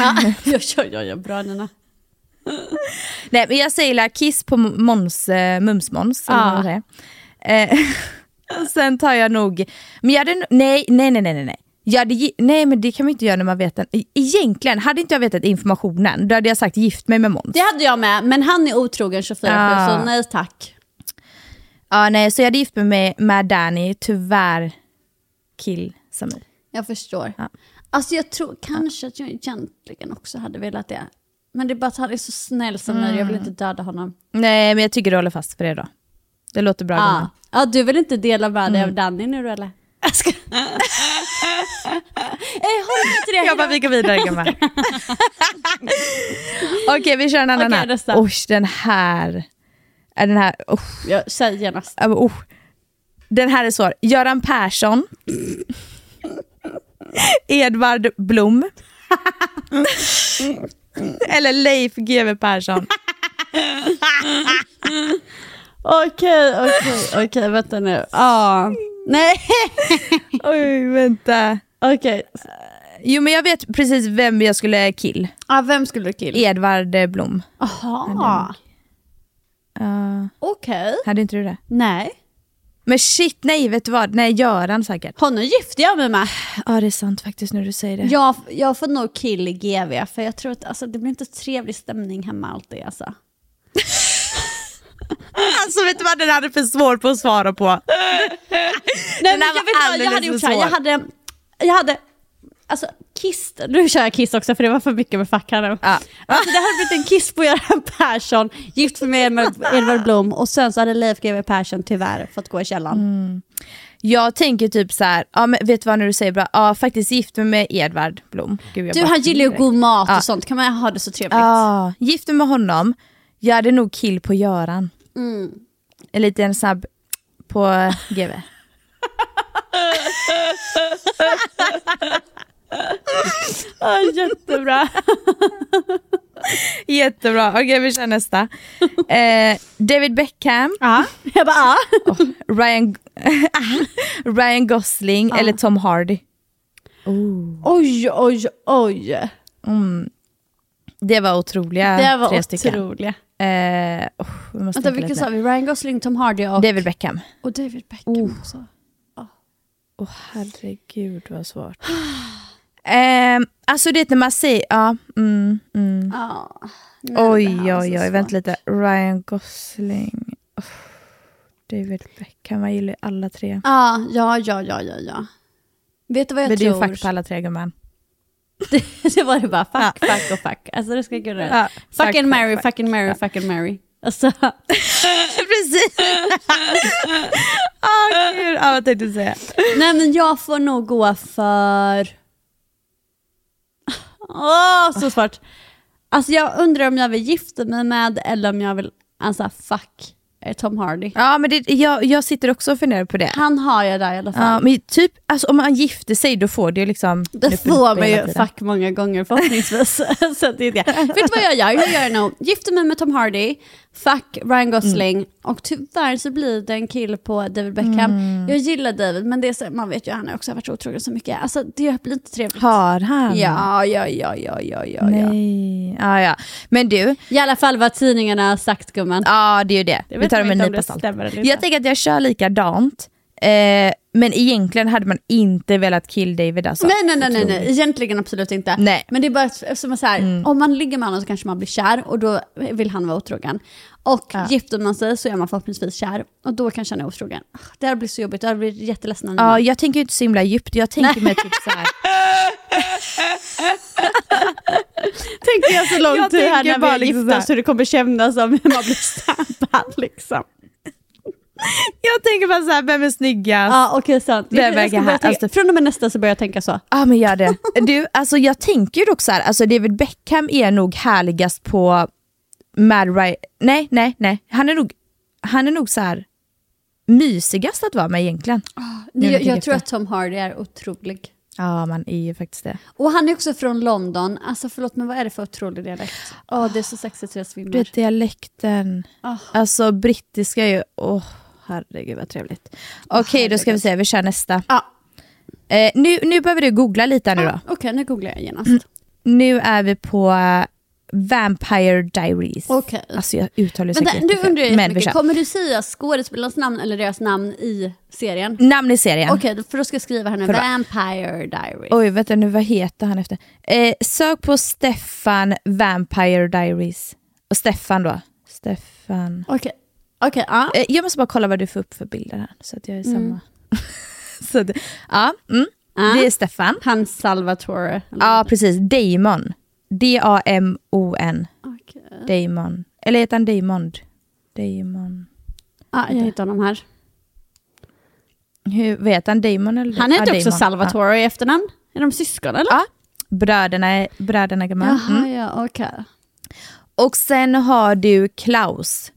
Ja, jag kör, jag gör bra Nina.
Nej men jag säger La Kiss på Måns, eh, Mums-Måns. eller
Ja.
vad man säger. Eh, och sen tar jag nog, men jag hade, no- nej nej nej nej nej, nej. Jag hade, gi- nej men det kan man inte göra när man vet den. E- Egentligen, hade inte jag vetat informationen då hade jag sagt gift mig med Måns.
Det hade jag med, men han är otrogen 24-7,
Ah.
så nej tack.
Ja, nej, så jag hade gift mig med, med Danny, tyvärr kill Samir.
Jag förstår.
Ja.
Alltså jag tror kanske att jag egentligen också hade velat det. Men det är bara att han är så snäll
Mm.
Samir, jag vill inte döda honom.
Nej, men jag tycker du håller fast för det då. Det låter bra.
Ja,
gumman.
ja du vill inte dela med dig av Danny nu då, eller? Jag ska... Nej, håll inte det.
Jag bara, vi går vidare gumman. Okej, vi kör en annan
Okej,
här.
nästa.
Oj, den här. Är den här. Oh,
Jag säger genast.
ja, men, oh. Den här är svår. Göran Persson. Edvard Blom. Eller Leif GW Persson.
Okej, okej, okej, vänta nu. Ah. Nej,
Oj, vänta.
okej.
Jo men jag vet precis vem jag skulle kill.
Ah, vem skulle du killa?
Edvard eh, Blom.
Jaha,
Uh,
okej.
hade inte du det?
Nej.
Men shit, nej vet du vad? Nej, Göran säkert.
Honom gifte jag mig med.
Ja det är sant faktiskt när du säger det.
Jag, jag får nog kill i GV för jag tror att alltså, det blir inte trevlig stämning hemma alltid. Alltså.
Alltså vet du vad, den hade för svår på att svara på.
Nej,
här
men
var
jag, vet vad, jag hade liksom
alldeles
gjort
för
så här, jag hade, jag hade, alltså kiss, nu kör jag kiss också för det var för mycket med fack här nu.
Ja.
Alltså, det hade blivit en kiss på Göran Persson, gift för mig med Edvard Blom och sen så hade Leif GW Persson tyvärr fått gå i källaren.
Jag tänker typ så här, ja men vet du vad när du säger bra, ja faktiskt gift mig med Edvard Blom. Gud, jag
Du
bara-
han gillar ju god mat
Ja.
och sånt, kan man ha det så trevligt?
Ja, gift mig med honom. Jag hade nog kill på Göran.
Mm.
En liten snabb på eh, GV.
Ja, jättebra.
Jättebra, okej vi kör nästa. Eh, David Beckham,
Ja. Jag bara ah.
Ryan, Ryan Gosling eller Tom Hardy.
Oj, oj, oj.
Mm. Det var otroliga
Det var
tre stycken.
otroliga.
Eh, oh, vi måste
Vänta,
tänka
vilka
lite.
sa vi? Ryan Gosling, Tom Hardy och
David Beckham.
och David Beckham. också.
Åh herregud vad svårt. Ehm, alltså det när man säger, ja, mm, mm.
Ja. Nej, det här
oj
var så
oj oj,
svårt.
vänta lite. Ryan Gosling, Uff. David Beckham, man gillar ju alla tre.
Ja, ja, ja, ja, ja, ja. Vet du vad jag
Men det är ju
tror?
fack på alla tre gumman.
det var det bara fuck, fuck och fuck. Alltså det ska jag göra.
Ja,
fuck,
fuck,
and Mary,
fuck,
fuck and Mary, fuck and Mary. Alltså,
Precis! Åh gud, ja, vad tänkte du säga?
nej men jag får nog gå för... Åh, så svårt. Alltså jag undrar om jag vill gifta mig med eller om jag vill, alltså fuck eh, Tom Hardy.
Ja men det, jag, jag sitter också och funderar på det.
Han har jag där i alla fall.
Ja, men typ, alltså, om man gifter sig då får det ju liksom...
Det
knuffen
får
upp
man
hela
ju
tiden.
fuck många gånger förhoppningsvis. så att det är det. Vet du vad jag gör? Jag gör nog, gifter mig med Tom Hardy, fuck Ryan Gosling
Mm.
och tyvärr så blir det en kill på David Beckham.
Mm.
Jag gillar David men det är så, man vet ju han har också varit otrogen så mycket. Alltså det blir inte trevligt.
Har han?
Ja, ja, ja, ja, ja, ja, ja.
Nej. Ja, ja. Men du,
I alla fall vad tidningarna har sagt gumman.
ja det är ju det. Vi tar dem med en nypa salt. Jag tänker att jag kör likadant. Eh, men egentligen hade man inte velat kill David alltså.
Nej, nej, nej, nej, nej, egentligen absolut inte.
Nej.
Men det är bara att- som att så här, om man ligger med honom så kanske man blir kär och då vill han vara otrogen. Och gifter man sig så är man förhoppningsvis kär och då kanske han är otrogen. Ah, Det här blir så jobbigt, det här blir jätteledsen.
Ja, jag tänker ju inte så himla djupt. Jag tänker mig typ så här.
tänker jag så lång
Jag
tid här
tänker
när vi
bara
är
liksom
gifta
så här.
så det kommer kännas som när man blir stampad liksom.
Jag tänker bara så här, vem är snyggast?
Ja, okej sant.
Det
Jag- jag
verkar
ska
här-
börja tänka-
alltså-
Från och med nästa så börjar jag tänka så.
Ja men gör det. Du, alltså jag tänker ju dock så här, alltså David Beckham är nog härligast på Mad Ry- Nej, nej, nej. Han är nog, han är nog så här mysigast att vara med egentligen. när
Jag,
jag tänker
jag tror
efter.
att Tom Hardy är otrolig.
Ja, man är ju faktiskt det.
Och han är också från London. Alltså förlåt men vad är det för otrolig dialekt? Åh det är så sexigt så jag svimmar.
Du vet Typ dialekten.
Ah.
Alltså brittiska är ju, åh herregud vad trevligt.
Ah,
Okej, då ska vi se, vi kör nästa.
Ja.
Eh, nu, nu behöver du googla lite här nu då.
Okej, nu googlar jag genast.
Mm. Nu är vi på eh, Vampire Diaries.
Okej.
Alltså jag uttalar ju
Vänta,
säkert
nu
jättefel,
undrar jag
men vi
jättemycket,
kör.
kommer du säga skådespelarnas namn eller deras namn i serien?
Namn i serien.
Okej, då- för då ska jag skriva här nu.
Förlåt.
Vampire Diaries.
Oj, vänta nu, vad heter han efter? Eh, sök på Stefan Vampire Diaries. Och Stefan då. Stefan.
Okej, okej, ja.
Eh, jag måste bara kolla vad du får upp för bilder här, så att jag är
Mm.
samma. så det, ja, mm. det är Stefan.
Han Salvatore. eller-
Ja, precis. Damon. D-A-M-O-N.
Okej.
Damon. Eller heter han Damond? Damon.
Ja, jag hittade honom här.
Hur, vad heter han? Damon eller?
Han heter
Ja,
också
Damon.
Salvatore i efternamn. Är de syskon eller?
Ja. ja. Bröderna, är- bröderna gammal.
Jaha, ja, okej.
Och sen har du Klaus.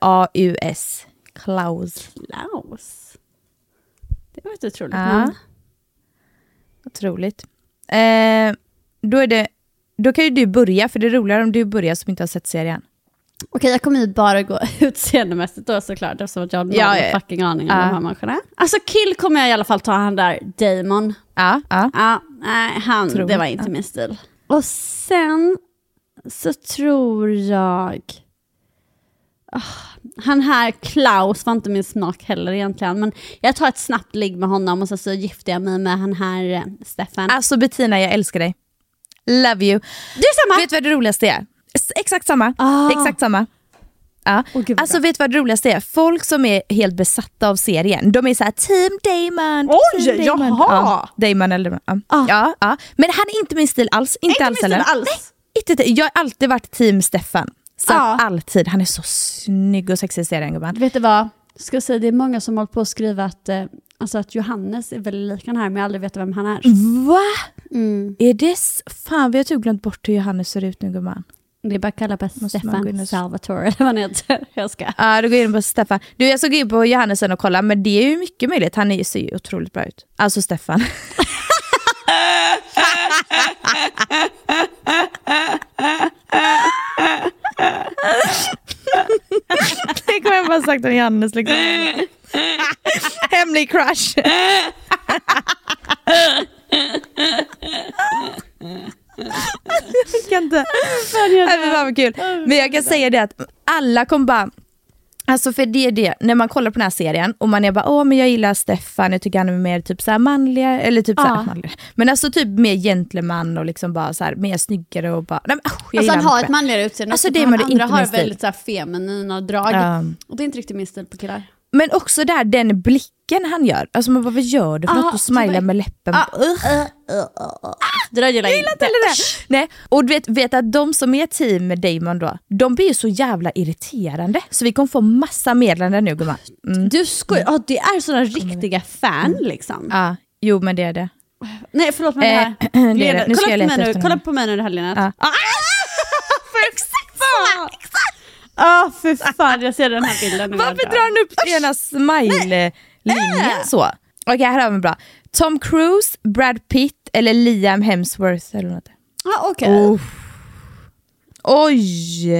K-L-A-U-S. Klaus.
Klaus. Det var ett otroligt
Ja.
namn.
Otroligt. Eh, då, är det, då kan ju du börja, för det är roligare om du börjar som inte har sett serien.
Okej, jag kommer ju bara gå utseendemässigt då såklart, eftersom att jag har noll
Ja, ja.
fucking aning om
Ja.
de här människorna. Alltså kill kommer jag i alla fall ta han där, Damon.
Ja, ja.
Ja, nej, han,
Tror-
det var inte
ja.
min stil. Och sen så tror jag... Ah, han här Klaus var inte min smak heller egentligen, men jag tar ett snabbt ligg med honom och sen så gifter jag mig med han här eh, Stefan.
Alltså Bettina, jag älskar dig. Love you.
du är samma!
Vet du vad det roligaste är? S- Exakt samma.
Ah.
Exakt samma. Ja.
Åh, gud, vad
alltså
bra.
vet du vad det roligaste är? Folk som är helt besatta av serien, de är så här team Damon.
Oj,
team Damon.
jaha.
Ja, Damon eller... Ja.
Ah.
Ja, ja. Men han är inte min stil alls. Inte,
Inte
alls
min stil
heller.
alls.
Nej, inte, det. jag har alltid varit team Stefan. Så
Ja.
alltid. Han är så snygg och sexig i serien gumman.
Vet du vad? Ska jag säga, det är många som har hållit på att skriva att, eh, alltså att Johannes är väldigt lik han här, men jag har aldrig vet vem han är.
Va?
Mm.
Är det... s- Fan vi har typ glömt bort hur Johannes ser ut nu gumman.
Det är bara att kalla på
man gå in
Stefan
och-
Salvatore, eller vad han heter. Jag ska.
Ja, då går jag in på Stefan. Du, jag ska gå in på Johannes sen och kolla, men det är ju mycket möjligt. Han är ju- ser ju otroligt bra ut. Alltså Stefan. bara sagt den Johannes liksom. Hemlig crush. jag kan inte. Nej, men fan vad kul. Men jag kan säga det att alla kommer bara Alltså för det är det, när man kollar på den här serien och man är bara åh men jag gillar Stefan, jag tycker han är mer typ så här manliga, eller typ så här,
Ja.
manliga. Men alltså typ mer gentleman och liksom bara så här, mer snyggare och bara, nej men usch, jag
Alltså
gillar
han har
inte.
ett manligare utseende
Alltså,
också,
det
men
var
han
det Um.
andra
inte
har
min stil.
väldigt så här, feminina drag.
Ja.
Och det är inte riktigt min stil på killar.
Men också där den blicken han gör, alltså man bara vad gör du för
Ah,
något? Och
det var-
smilar med läppen.
Ah, eh, eh, eh, eh. Det där gillar jag
uh, gillar
inte.
inte heller det. Nej. Och du vet, vet att de som är team med Damon då, de blir ju så jävla irriterande. Så vi kommer få massa meddelanden nu gumman. Mm.
Du skojar, Ja, det är sådana riktiga fan liksom.
Ja, jo men det är det.
Nej förlåt men det
Eh,
här.
det är det.
Lena,
Nu ska
kolla,
jag
på
leta
mig nu,
efter
kolla
honom.
på mig nu det här Lena.
Ja.
Ah, för exakt samma! Ja för ah, fan jag ser den här bilden nu.
Varför drar han upp ena smile-linjen så? Okej, här har vi en bra. Tom Cruise, Brad Pitt eller Liam Hemsworth eller något.
ah, okej.
Oh. Oj!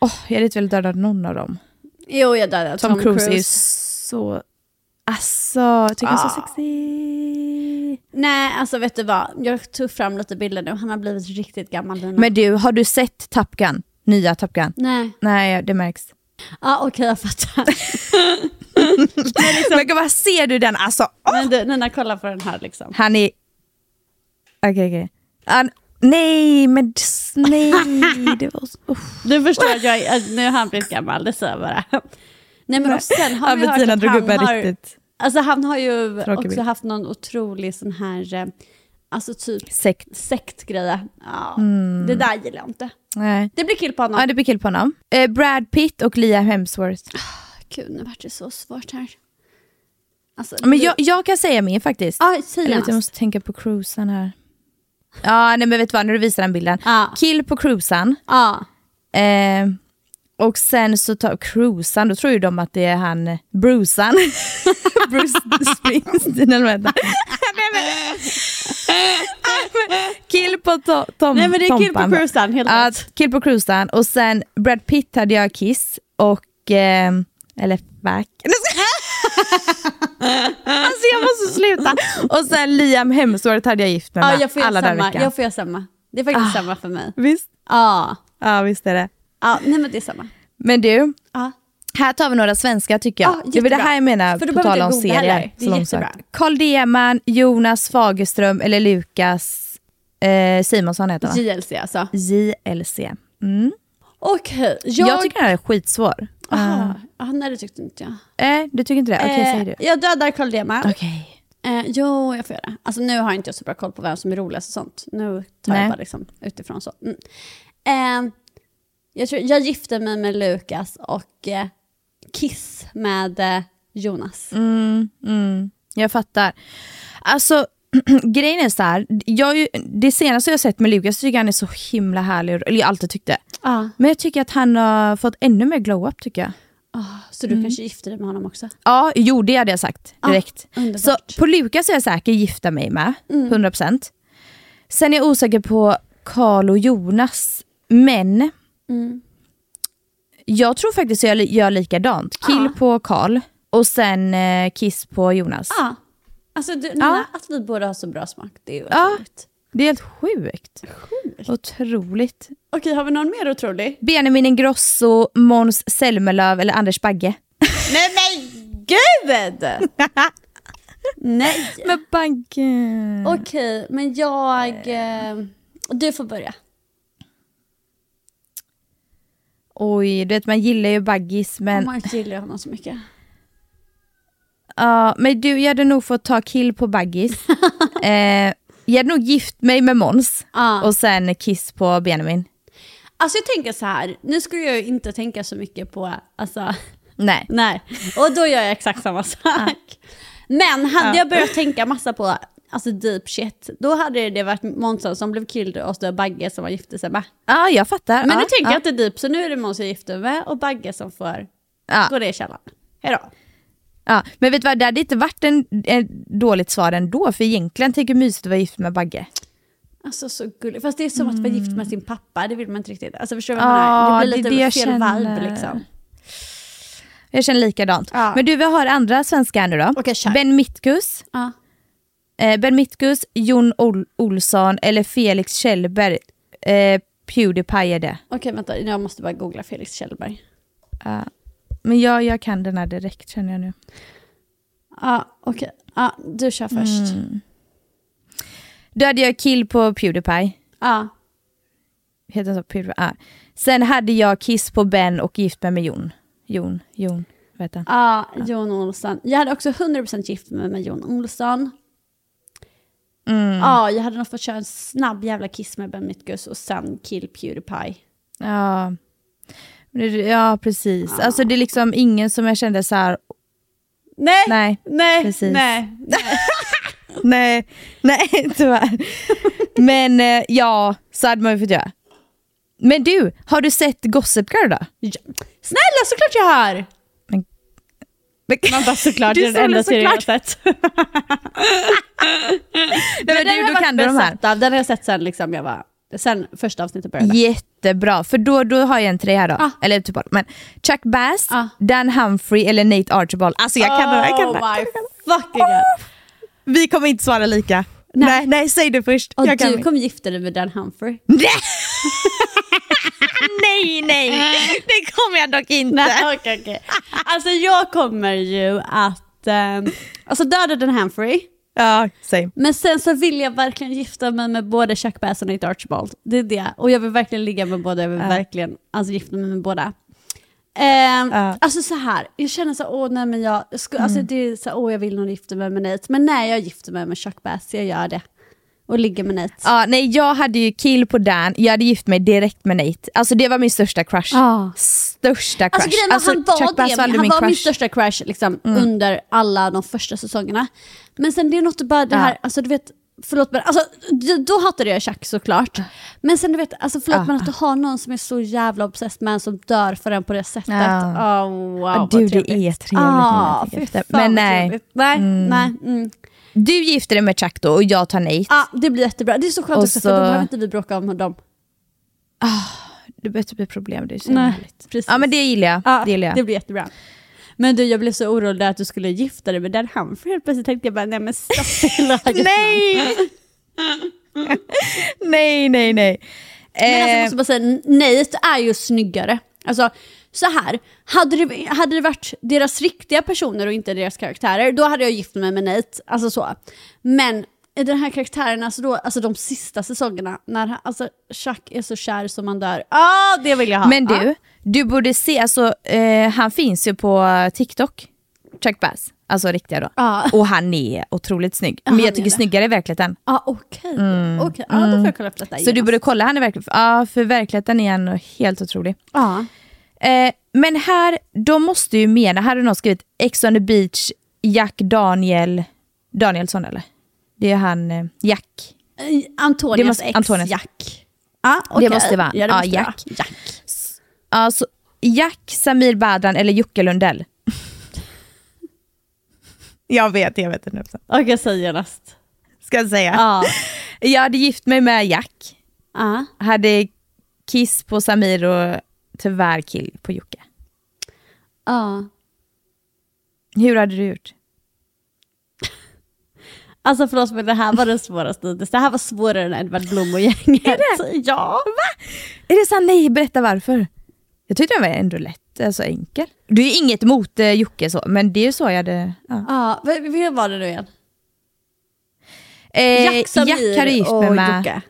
Åh, jag hade inte velat döda någon av dem.
Jo jag dödar Tom,
Tom, Cruise, är ju så... Alltså, jag tycker han är så sexig.
Nej alltså vet du vad, jag tog fram lite bilder nu, han har blivit riktigt gammal Lina.
Men du, har du sett Top Gun? Nya Top Gun?
Nej,
Nej, det märks.
ah, okej jag fattar.
Men vad ser du den? Alltså, åh!
Men du, Nina kolla på den här liksom.
han är... Okej, okej. Han... Nej, men s- nej. Det var så... Uff.
Du förstår att jag, är- att nu har han blivit gammal, det säger jag bara. Nej men och sen har
Ja,
vi
men
hört
Tina
att
drog upp
han
en
har,
riktigt
alltså han har ju
Tråkig
också
bild.
haft någon otrolig sån här, eh, alltså typ
sekt.
sektgrejer. Ja, Det där gillar jag inte.
Nej.
Det blir kill på honom.
Mm. Ja, det blir kill på honom. Eh, Brad Pitt och Liam Hemsworth.
Gud, nu vart det så svårt här. Alltså,
Men
du-
jag, jag kan säga min faktiskt.
Ja, säg
Eller att jag
Jonas.
måste tänka på cruisen här. Ja, nej men vet du vad, när du visar den bilden.
Ja.
Kill på cruisen.
Ja.
Eh, och sen så tar cruisen, då tror ju de att det är han eh, Brucean. Bruce Springsteen eller vad heter han? Nej, men- Ja, men Kill på to- tom,
Nej men det är kill på
tompan.
cruisen, helt
Ja,
rätt.
Kill på cruisen. Och sen Brad Pitt hade jag Kiss och... Eh, eller Back. Nej, ska- alltså jag måste sluta. Och sen Liam Hemsworth hade jag gift med
Ja,
mig.
jag får göra
alla dagar i
samma.
veckan. Ah.
Jag får göra samma. Det är faktiskt samma för mig.
Visst?
Ja.
Ja, visst är det.
ja, nej men det är samma.
Men du,
Ja.
här tar vi några svenska tycker jag.
Ja,
det är väl det
jättebra.
här jag menar
För du
på
behöver
tal om
inte googla
serier.
heller. Det är
så
jättebra.
långsökt. Carl Deman, Jonas Fagerström eller Lukas eh, Simonsson heter han va?
JLC alltså.
JLC. Mm.
Okej,
Jag...
jag...
tycker den här är skitsvår.
Aha. Ja, nej det tyckte inte jag.
Eh, du tycker inte det? Okej, säg du.
Eh, jag dödar Carl Dema.
Okej.
Eh, jo, jag får göra det. Alltså nu har inte jag så bra koll på vem som är roligast och sånt. Nu tar
Nej.
jag bara liksom utifrån så. Mm. Eh, jag, tror, jag gifte mig med Lukas och eh, Kiss med eh, Jonas.
Mm. Jag fattar. Alltså, grejen är så här. Jag är ju, det senaste jag sett med Lukas tycker jag han är så himla härlig. Eller jag alltid tyckte.
Ja.
Men jag tycker att han har fått ännu mer glow-up tycker jag.
Ah, Så
Mm.
du kanske gifte dig med honom också?
Ja, jo det hade jag sagt direkt.
underbart.
så på Lukas är jag säker gifta mig med, 100%. Sen är jag osäker på Karl och Jonas, men Mm. jag tror faktiskt att jag li- gör likadant. Kill på Karl och sen eh, kiss på Jonas.
Ja. Alltså du, Nina, att vi båda har så bra smak, det är ju
Ja.
otroligt.
Det är helt sjukt. Otroligt.
Okej, har vi någon mer otrolig?
Benjamin Ingrosso, Måns Zelmerlöw eller Anders Bagge.
Nej men gud! Nej.
Men Bagge...
Okej, men jag... Eh, du får börja.
Oj, du vet man gillar ju Baggis men...
Man gillar honom så mycket.
Ja, men du, jag hade nog fått ta kill på Baggis. eh, jag hade nog gift mig med Måns
Ja.
och sen kiss på Benjamin.
Alltså jag tänker så här, nu skulle jag ju inte tänka så mycket på, alltså,
Nej.
nej. Och då gör jag exakt samma sak. Men hade jag börjat tänka massa på, alltså deep shit, då hade det varit Månsson som blev killed och så Bagge som han gifte sig med.
Ja, jag fattar.
Men
ja,
nu tänker
ja.
jag att det är deep, så nu är det Måns jag gifte mig med och Bagge som får
Ja.
gå ner i källaren. Hejdå.
Ja. Men vet du vad, det hade inte varit en, en dåligt svar ändå, för egentligen tycker jag mysigt att vara gift med Bagge.
Alltså så gulligt. Fast det är som att vara gift med sin pappa, det vill man inte riktigt. Alltså förstår du vad
Ja,
jag menar? Det
det är
blir
det
lite
jag
fel
känner.
vibe liksom.
Jag känner likadant.
Ja.
Men du, vi har andra svenskar nu då.
Okej, kör.
ben Mitkus,
Ja.
eh, Ben Mitkus, Jon Ol- Olsson eller Felix Kjellberg. Eh, Pewdiepie är det.
Okej, vänta. Jag måste bara googla Felix Kjellberg.
Men jag, jag kan den här direkt känner jag nu.
Ja, okej. Ja, du kör först.
Då hade jag kill på Pewdiepie.
Ja.
Heter han så? Pewdiepie. Ah. Sen hade jag kiss på Ben och gift mig med Jon. Jon, Jon, vad heter han?
Ja, Jon Olsson. Jag hade också 100% gift mig med Jon Olsson. Ja, jag hade nog fått köra en snabb jävla kiss med Ben Mitkus och sen kill Pewdiepie.
Ja, Men det- ja precis.
Ah.
Alltså det är liksom ingen som jag kände så här.
Nej,
Nej,
nej,
precis.
nej.
nej, nej tyvärr. Men eh, ja, så hade man ju fått göra. Men du, har du sett Gossip Girl då?
Ja. Snälla, såklart jag har!
Men-
Man bara såklart,
Du
det är
sa
den enda
det
serien jag har
såklart.
sett.
Nej, men
Den har
du,
jag
då
varit
kan du de här.
besatt Av. Den har jag sett sen, liksom, jag var, sen första avsnittet började.
Jättebra, för då, då har jag en trea då.
Ah.
Eller typ bara- men Chuck Bass,
Ah.
Dan Humphrey eller Nate Archibald. Alltså jag kan oh den, jag kan
oh
den.
my fucking god.
Vi kommer inte svara lika.
Nej.
Nej, nej, säg det först.
Och
jag kan
du
min.
kommer gifta dig med Dan Humphrey.
Nej, nej, det kommer jag dock inte.
Nej, okej, okej. Alltså jag kommer ju att ehm, alltså döda den Humphrey.
Ja, same.
Men sen så vill jag verkligen gifta mig med både Chuck Bass och Nate Archibald. Det är det. Och jag vill verkligen ligga med båda. Jag vill verkligen alltså, gifta mig med båda. Ehm,
Ja.
Alltså så här, jag känner så här, åh nej men jag, sku, alltså, det är så här, åh jag vill nog gifta mig med Nate. Men nej jag gifter mig med Chuck Bass, jag gör det. Och ligger med Nate.
Ja, nej, jag hade ju kill på Dan, jag hade gift mig direkt med Nate. Alltså det var min största crush.
Ah.
Största crush.
Alltså, grejen var, han var,
Chuck Bass
det, men
aldrig
han var min
crush. Mm.
största crush liksom, under alla de första säsongerna. Men sen det är något bara det här,
Ja.
alltså du vet, förlåt men alltså, d- då hatade jag Chuck såklart. Men sen du vet, alltså, förlåt
Ja,
men att du har någon som är så jävla obsessed med en som dör för en på det sättet.
Ja.
Oh, wow,
Ja,
vad
du, Ah, det
trevligt.
är trevligt när man
Ah,
tänker
fy
efter.
fan,
Men
vad
nej.
trevligt. Nej, nej. Mm.
Du gifte dig med Chuck då och jag tar Nate.
Ah, det blir jättebra. Det är så skönt
Och
också för då
så-
behöver inte vi bråka om dem.
Det behöver inte bli problem, det är så
Nej,
härligt.
precis.
Ja men det gillar jag.
Ja,
det gillar jag.
Ah. det blir jättebra. Men du, jag blev så orolig där att du skulle gifta dig med den Humphrey. Helt plötsligt tänkte jag bara, nej men stopp hela
Nej! nej, nej, nej.
Men alltså, jag
Eh,
måste bara säga, Nate är ju snyggare. Alltså, så här, hade det, hade det varit deras riktiga personer och inte deras karaktärer, då hade jag gift mig med Nate. Alltså så. Men i den här karaktären, alltså, då, alltså de sista säsongerna, när han- alltså, Chuck är så kär som man dör. Ja, det vill jag ha.
Men
Ja.
du, du borde se, alltså, eh, han finns ju på TikTok, Chuck Bass. Alltså riktiga då.
Ja.
Och han är otroligt snygg. Men
Ah. han är
jag tycker
det.
snyggare i verkligheten.
Ja, Ah, okej. Okej, ja, då får jag kolla upp detta
Så du borde kolla, han är verkligen, ja, för verkligheten är han helt otrolig.
Ja.
Eh, men här, de måste ju mena, här har någon skrivit Ex on the beach, Jack Daniel, Danielsson eller? Det är han, eh, Jack.
Eh, Antonias
Det måste-
ex
Antonias.
Jack. Ja, okej.
Det måste vara han.
Ja, det
Ja,
måste det
Jack.
vara. Jack.
Alltså, Jack, Samir Badran eller Jocke Lundell? jag vet, jag vet inte.
Okej, säg genast.
Ska jag säga.
Ja.
Jag hade gift mig med Jack,
Ja.
hade kiss på Samir och tyvärr kill på Jocke.
Ja.
Hur hade du gjort?
Alltså för oss, men det här var den svåraste hittills. Det här var svårare än Edvard Blom och gänget. Är det? Ja.
Är det sant? Nej, berätta varför. Jag tyckte den var ändå lätt, alltså enkel. Du är inget emot eh, Jocke så, men det är ju så jag hade... Ja.
Ja, Ah, v- v- hur var det nu igen?
Eh,
Jack, Samir
Jack hade gift mig
och
med...
Jocke.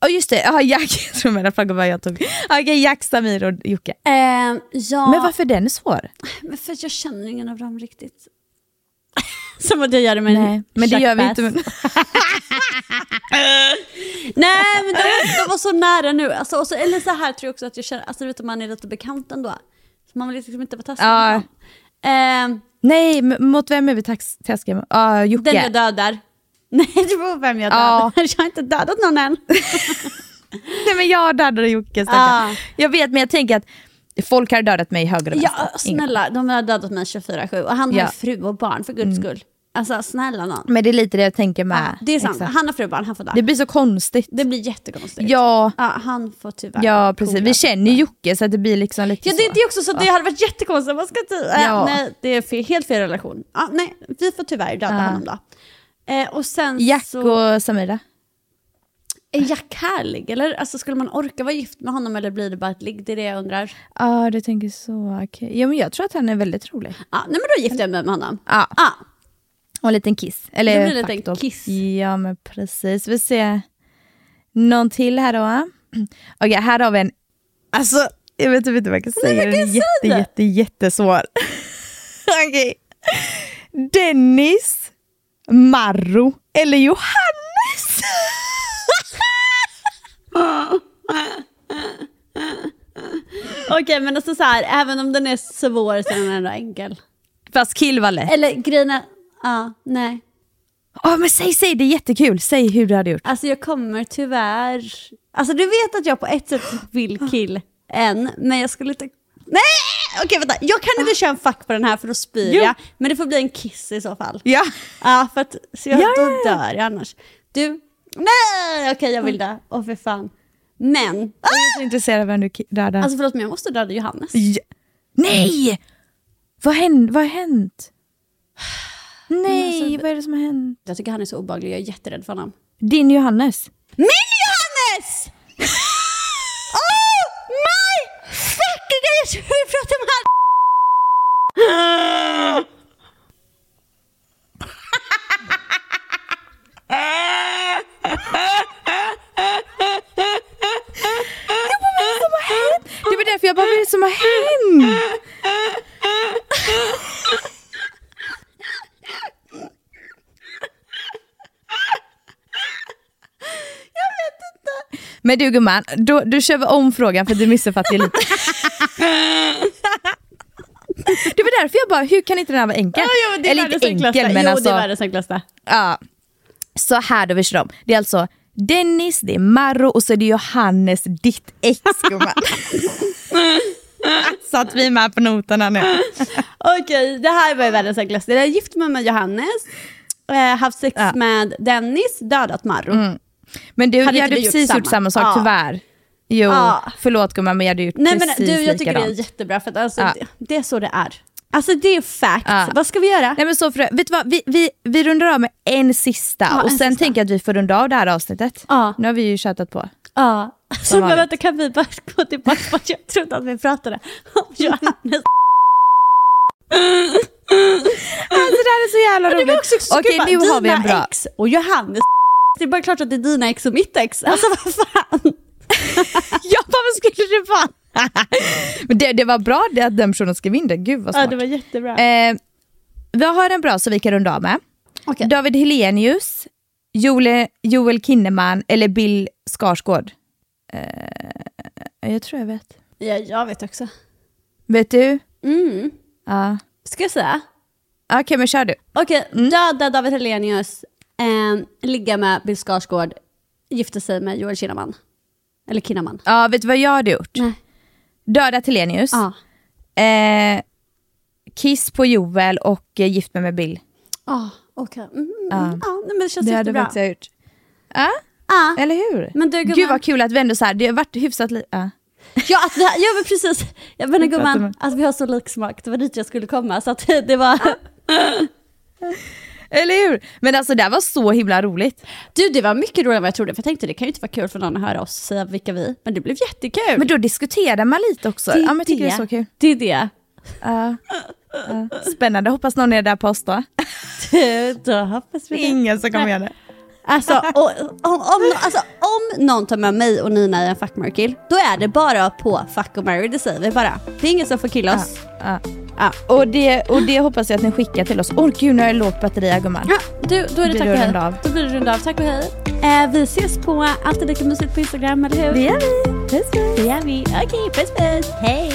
Ja just det, ja, Jack. Jag tror mina frågor var jag tog. Okej, Jack, Samir och Jocke.
Ehm, ja,
Men varför den är svår?
men för att jag känner ingen av dem riktigt. Som att jag gör det med en
Nej, men det
Chuck
gör vi
Bass.
inte. Men...
Nej, men de var, de var så nära nu. Alltså, och så, eller så här tror jag också att jag känner, alltså du vet om man är lite bekant ändå. Så man vill liksom inte vara taskig
Ja.
mot dem. Ehm,
Nej, m- mot vem är vi tax- taskiga? mot? Ja, Jocke.
Den jag dödar. Nej, det beror på vem jag dödar.
Ja.
Jag har inte dödat någon än.
Nej men jag dödade Jocke stackarn.
Ah.
Jag vet men jag tänker att folk har dödat mig högre och
Ja,
vänster. Ingen-
snälla, de har dödat mig 24-7 och han har
Ja. Mm.
fru och barn för guds skull. Alltså snälla nån.
Men det är lite det jag tänker
Ja,
med.
det är sant.
Exakt.
Han har frubarn, han får där.
Det
Det,
blir så konstigt.
blir jättekonstigt.
Ja,
Ja, han får tyvärr.
ja precis. Vi
kola.
känner ju Jocke så att det blir liksom lite
Ja, det,
så.
det är också så att det hade varit jättekonstigt om man ska ty- äh,
Ja.
Nej, det är fel, helt fel relation. Ja, nej, vi får tyvärr döda
Ja.
honom då. Eh, och sen
Jack
så...
och Samira.
Är Jack härlig eller? Alltså skulle man orka vara gift med honom eller blir det bara ett ligg? Det är det jag undrar.
Ja, du tänker så. Okay. Ja, men jag tror att han är väldigt rolig.
Ja, nej men då gifter jag mig med honom.
Ja,
Ja,
och en liten kiss. Eller
Det blir en liten
faktor.
kiss.
Ja, men precis. Vi ser någon till här då. Okej, här har vi en... Alltså, jag vet typ inte vad jag kan säga. Den är jätte, jätte, jättesvår. Okej. Dennis, Marro eller Johannes?
Okej men alltså så här, även om den är svår så är den ändå enkel.
Fast killvalet.
Eller grejen är, ja, nej.
Ja, men säg, säg, det är jättekul. Säg hur du hade gjort.
Alltså jag kommer tyvärr... Alltså du vet att jag på ett sätt vill kill en, men jag skulle inte... Nej! Okej vänta, jag kan inte köra en fuck på den här för då spyr
Jo.
jag. Men det får bli en kiss i så fall.
Ja.
Ja, för att så jag,
Ja, ja,
då
ja.
dör jag annars. Du, nej! Okej jag vill dö, åh för fan. Men,
Jag är så intresserad av vem du ki- dödar.
alltså Mm. förlåt men jag måste döda Johannes.
Ja. Nej! Vad, hän, vad har hänt? Nej,
alltså,
vad är det som har hänt?
Jag tycker han är så obehaglig, jag är jätterädd för honom.
Din Johannes.
Min Johannes! oh my fucking god, jag tror vi pratar om han.
Det var därför jag bara, vad är det som har hänt? Men du gumman, då, då kör vi om frågan för du missuppfattade lite. Det var därför jag bara, hur kan inte den här vara enkel? Eller inte enkel men
jo,
alltså.
det är världens enklaste.
Ja. Så här då vi kör om. Det är alltså Dennis, det är Marro och så är det Johannes, ditt ex gumman. Så att vi är med på noterna nu.
Okej, det här var ju världens enklaste. Jag är gift med mig Johannes, eh, haft sex
Ja. Mm,
med Dennis, dödat Marro.
Men du,
Hade
jag hade
inte vi gjort
precis gjort samma
samma?
sak
Ja.
tyvärr. Jo,
Ja.
förlåt gumman men jag hade gjort
Nej men
precis
du, jag tycker det är
likadant.
jättebra för att alltså,
Ja.
det, det är så det är. Alltså det är facts.
Ja.
Vad ska vi göra?
Nej men så för, vet du vad, vi, vi, vi rundar av med en sista
Ja,
och
en
sen
sista.
tänker jag att vi får runda av det här avsnittet.
Ja.
Nu har vi ju tjatat på.
Ja. Så men
vanligt.
vänta, kan vi bara gå tillbaka på att jag trodde att vi pratade
Mm.
om Johannes.
Alltså det här är så jävla roligt.
Det var också så
Okej
kul, bara,
nu har vi en
dina
bra.
ex och Johannes. Det är bara klart att det är dina ex och mitt ex. Alltså vad fan.
Jag bara, vad skulle det vara? Men det, det var bra det att den personen skrev in det. Gud vad
Ja,
smart.
det var jättebra.
eh, vi har en bra så vi kan runda av med.
Okej.
David Helenius, Joel, Joel Kinnaman eller Bill Skarsgård? Eh, jag tror jag vet.
Ja, jag vet också.
Vet du?
Mm.
Ja.
Ska jag säga?
Okej, men kör du.
Okej, döda David Hellenius, eh, ligga med Bill Skarsgård, gifta sig med Joel Kinnaman. Eller Kinnaman.
Ja, vet du vad jag hade gjort?
Nej.
Dödat Helenius,
Ja.
eh, kiss på Joel och eh, gift mig med Bill.
Ja, okej. Mm, mm, Ja, nej, men Ah. det känns
Det hade
jättebra.
faktiskt jag gjort. Ja,
Ja.
eller hur?
Men du,
Gud
gumman.
vad kul att vi ändå så här, det har varit hyfsat li- ja.
Ja, att vi har, ja men precis. Jag menar
pratar
gumman,
med-
att vi har så lik smak. Det var dit jag skulle komma. Så att det var...
Eller hur? Men alltså det här var så himla roligt.
Du, det var mycket roligare än vad jag trodde. För jag tänkte det kan ju inte vara kul för någon att höra oss säga vilka vi är. Men det blev jättekul.
Men då diskuterar man lite också. Ja, men jag tycker det är så kul.
Det är det.
Ja. Ja. Spännande, hoppas någon är där på oss då.
Du, Då hoppas vi det.
Ingen som kommer göra det.
Alltså, och, om, om, alltså om någon tar med mig och Nina i en fuck marry kill, då är det bara på fuck och marry, det säger vi bara. Det är ingen som får killa oss.
Ja.
Ja.
Och, det, och det hoppas jag att ni skickar till oss. Åh gud, nu har jag lågt batteri här, gumman.
Ja, du, då är det
Blir
tack
det
och hej.
runda av?
Då blir det runda av. Tack och hej. Eh, vi ses på Alltid Lika Mysigt på Instagram, eller hur?
Det gör vi. Puss puss.
Det gör vi. Okej, puss puss. Hej!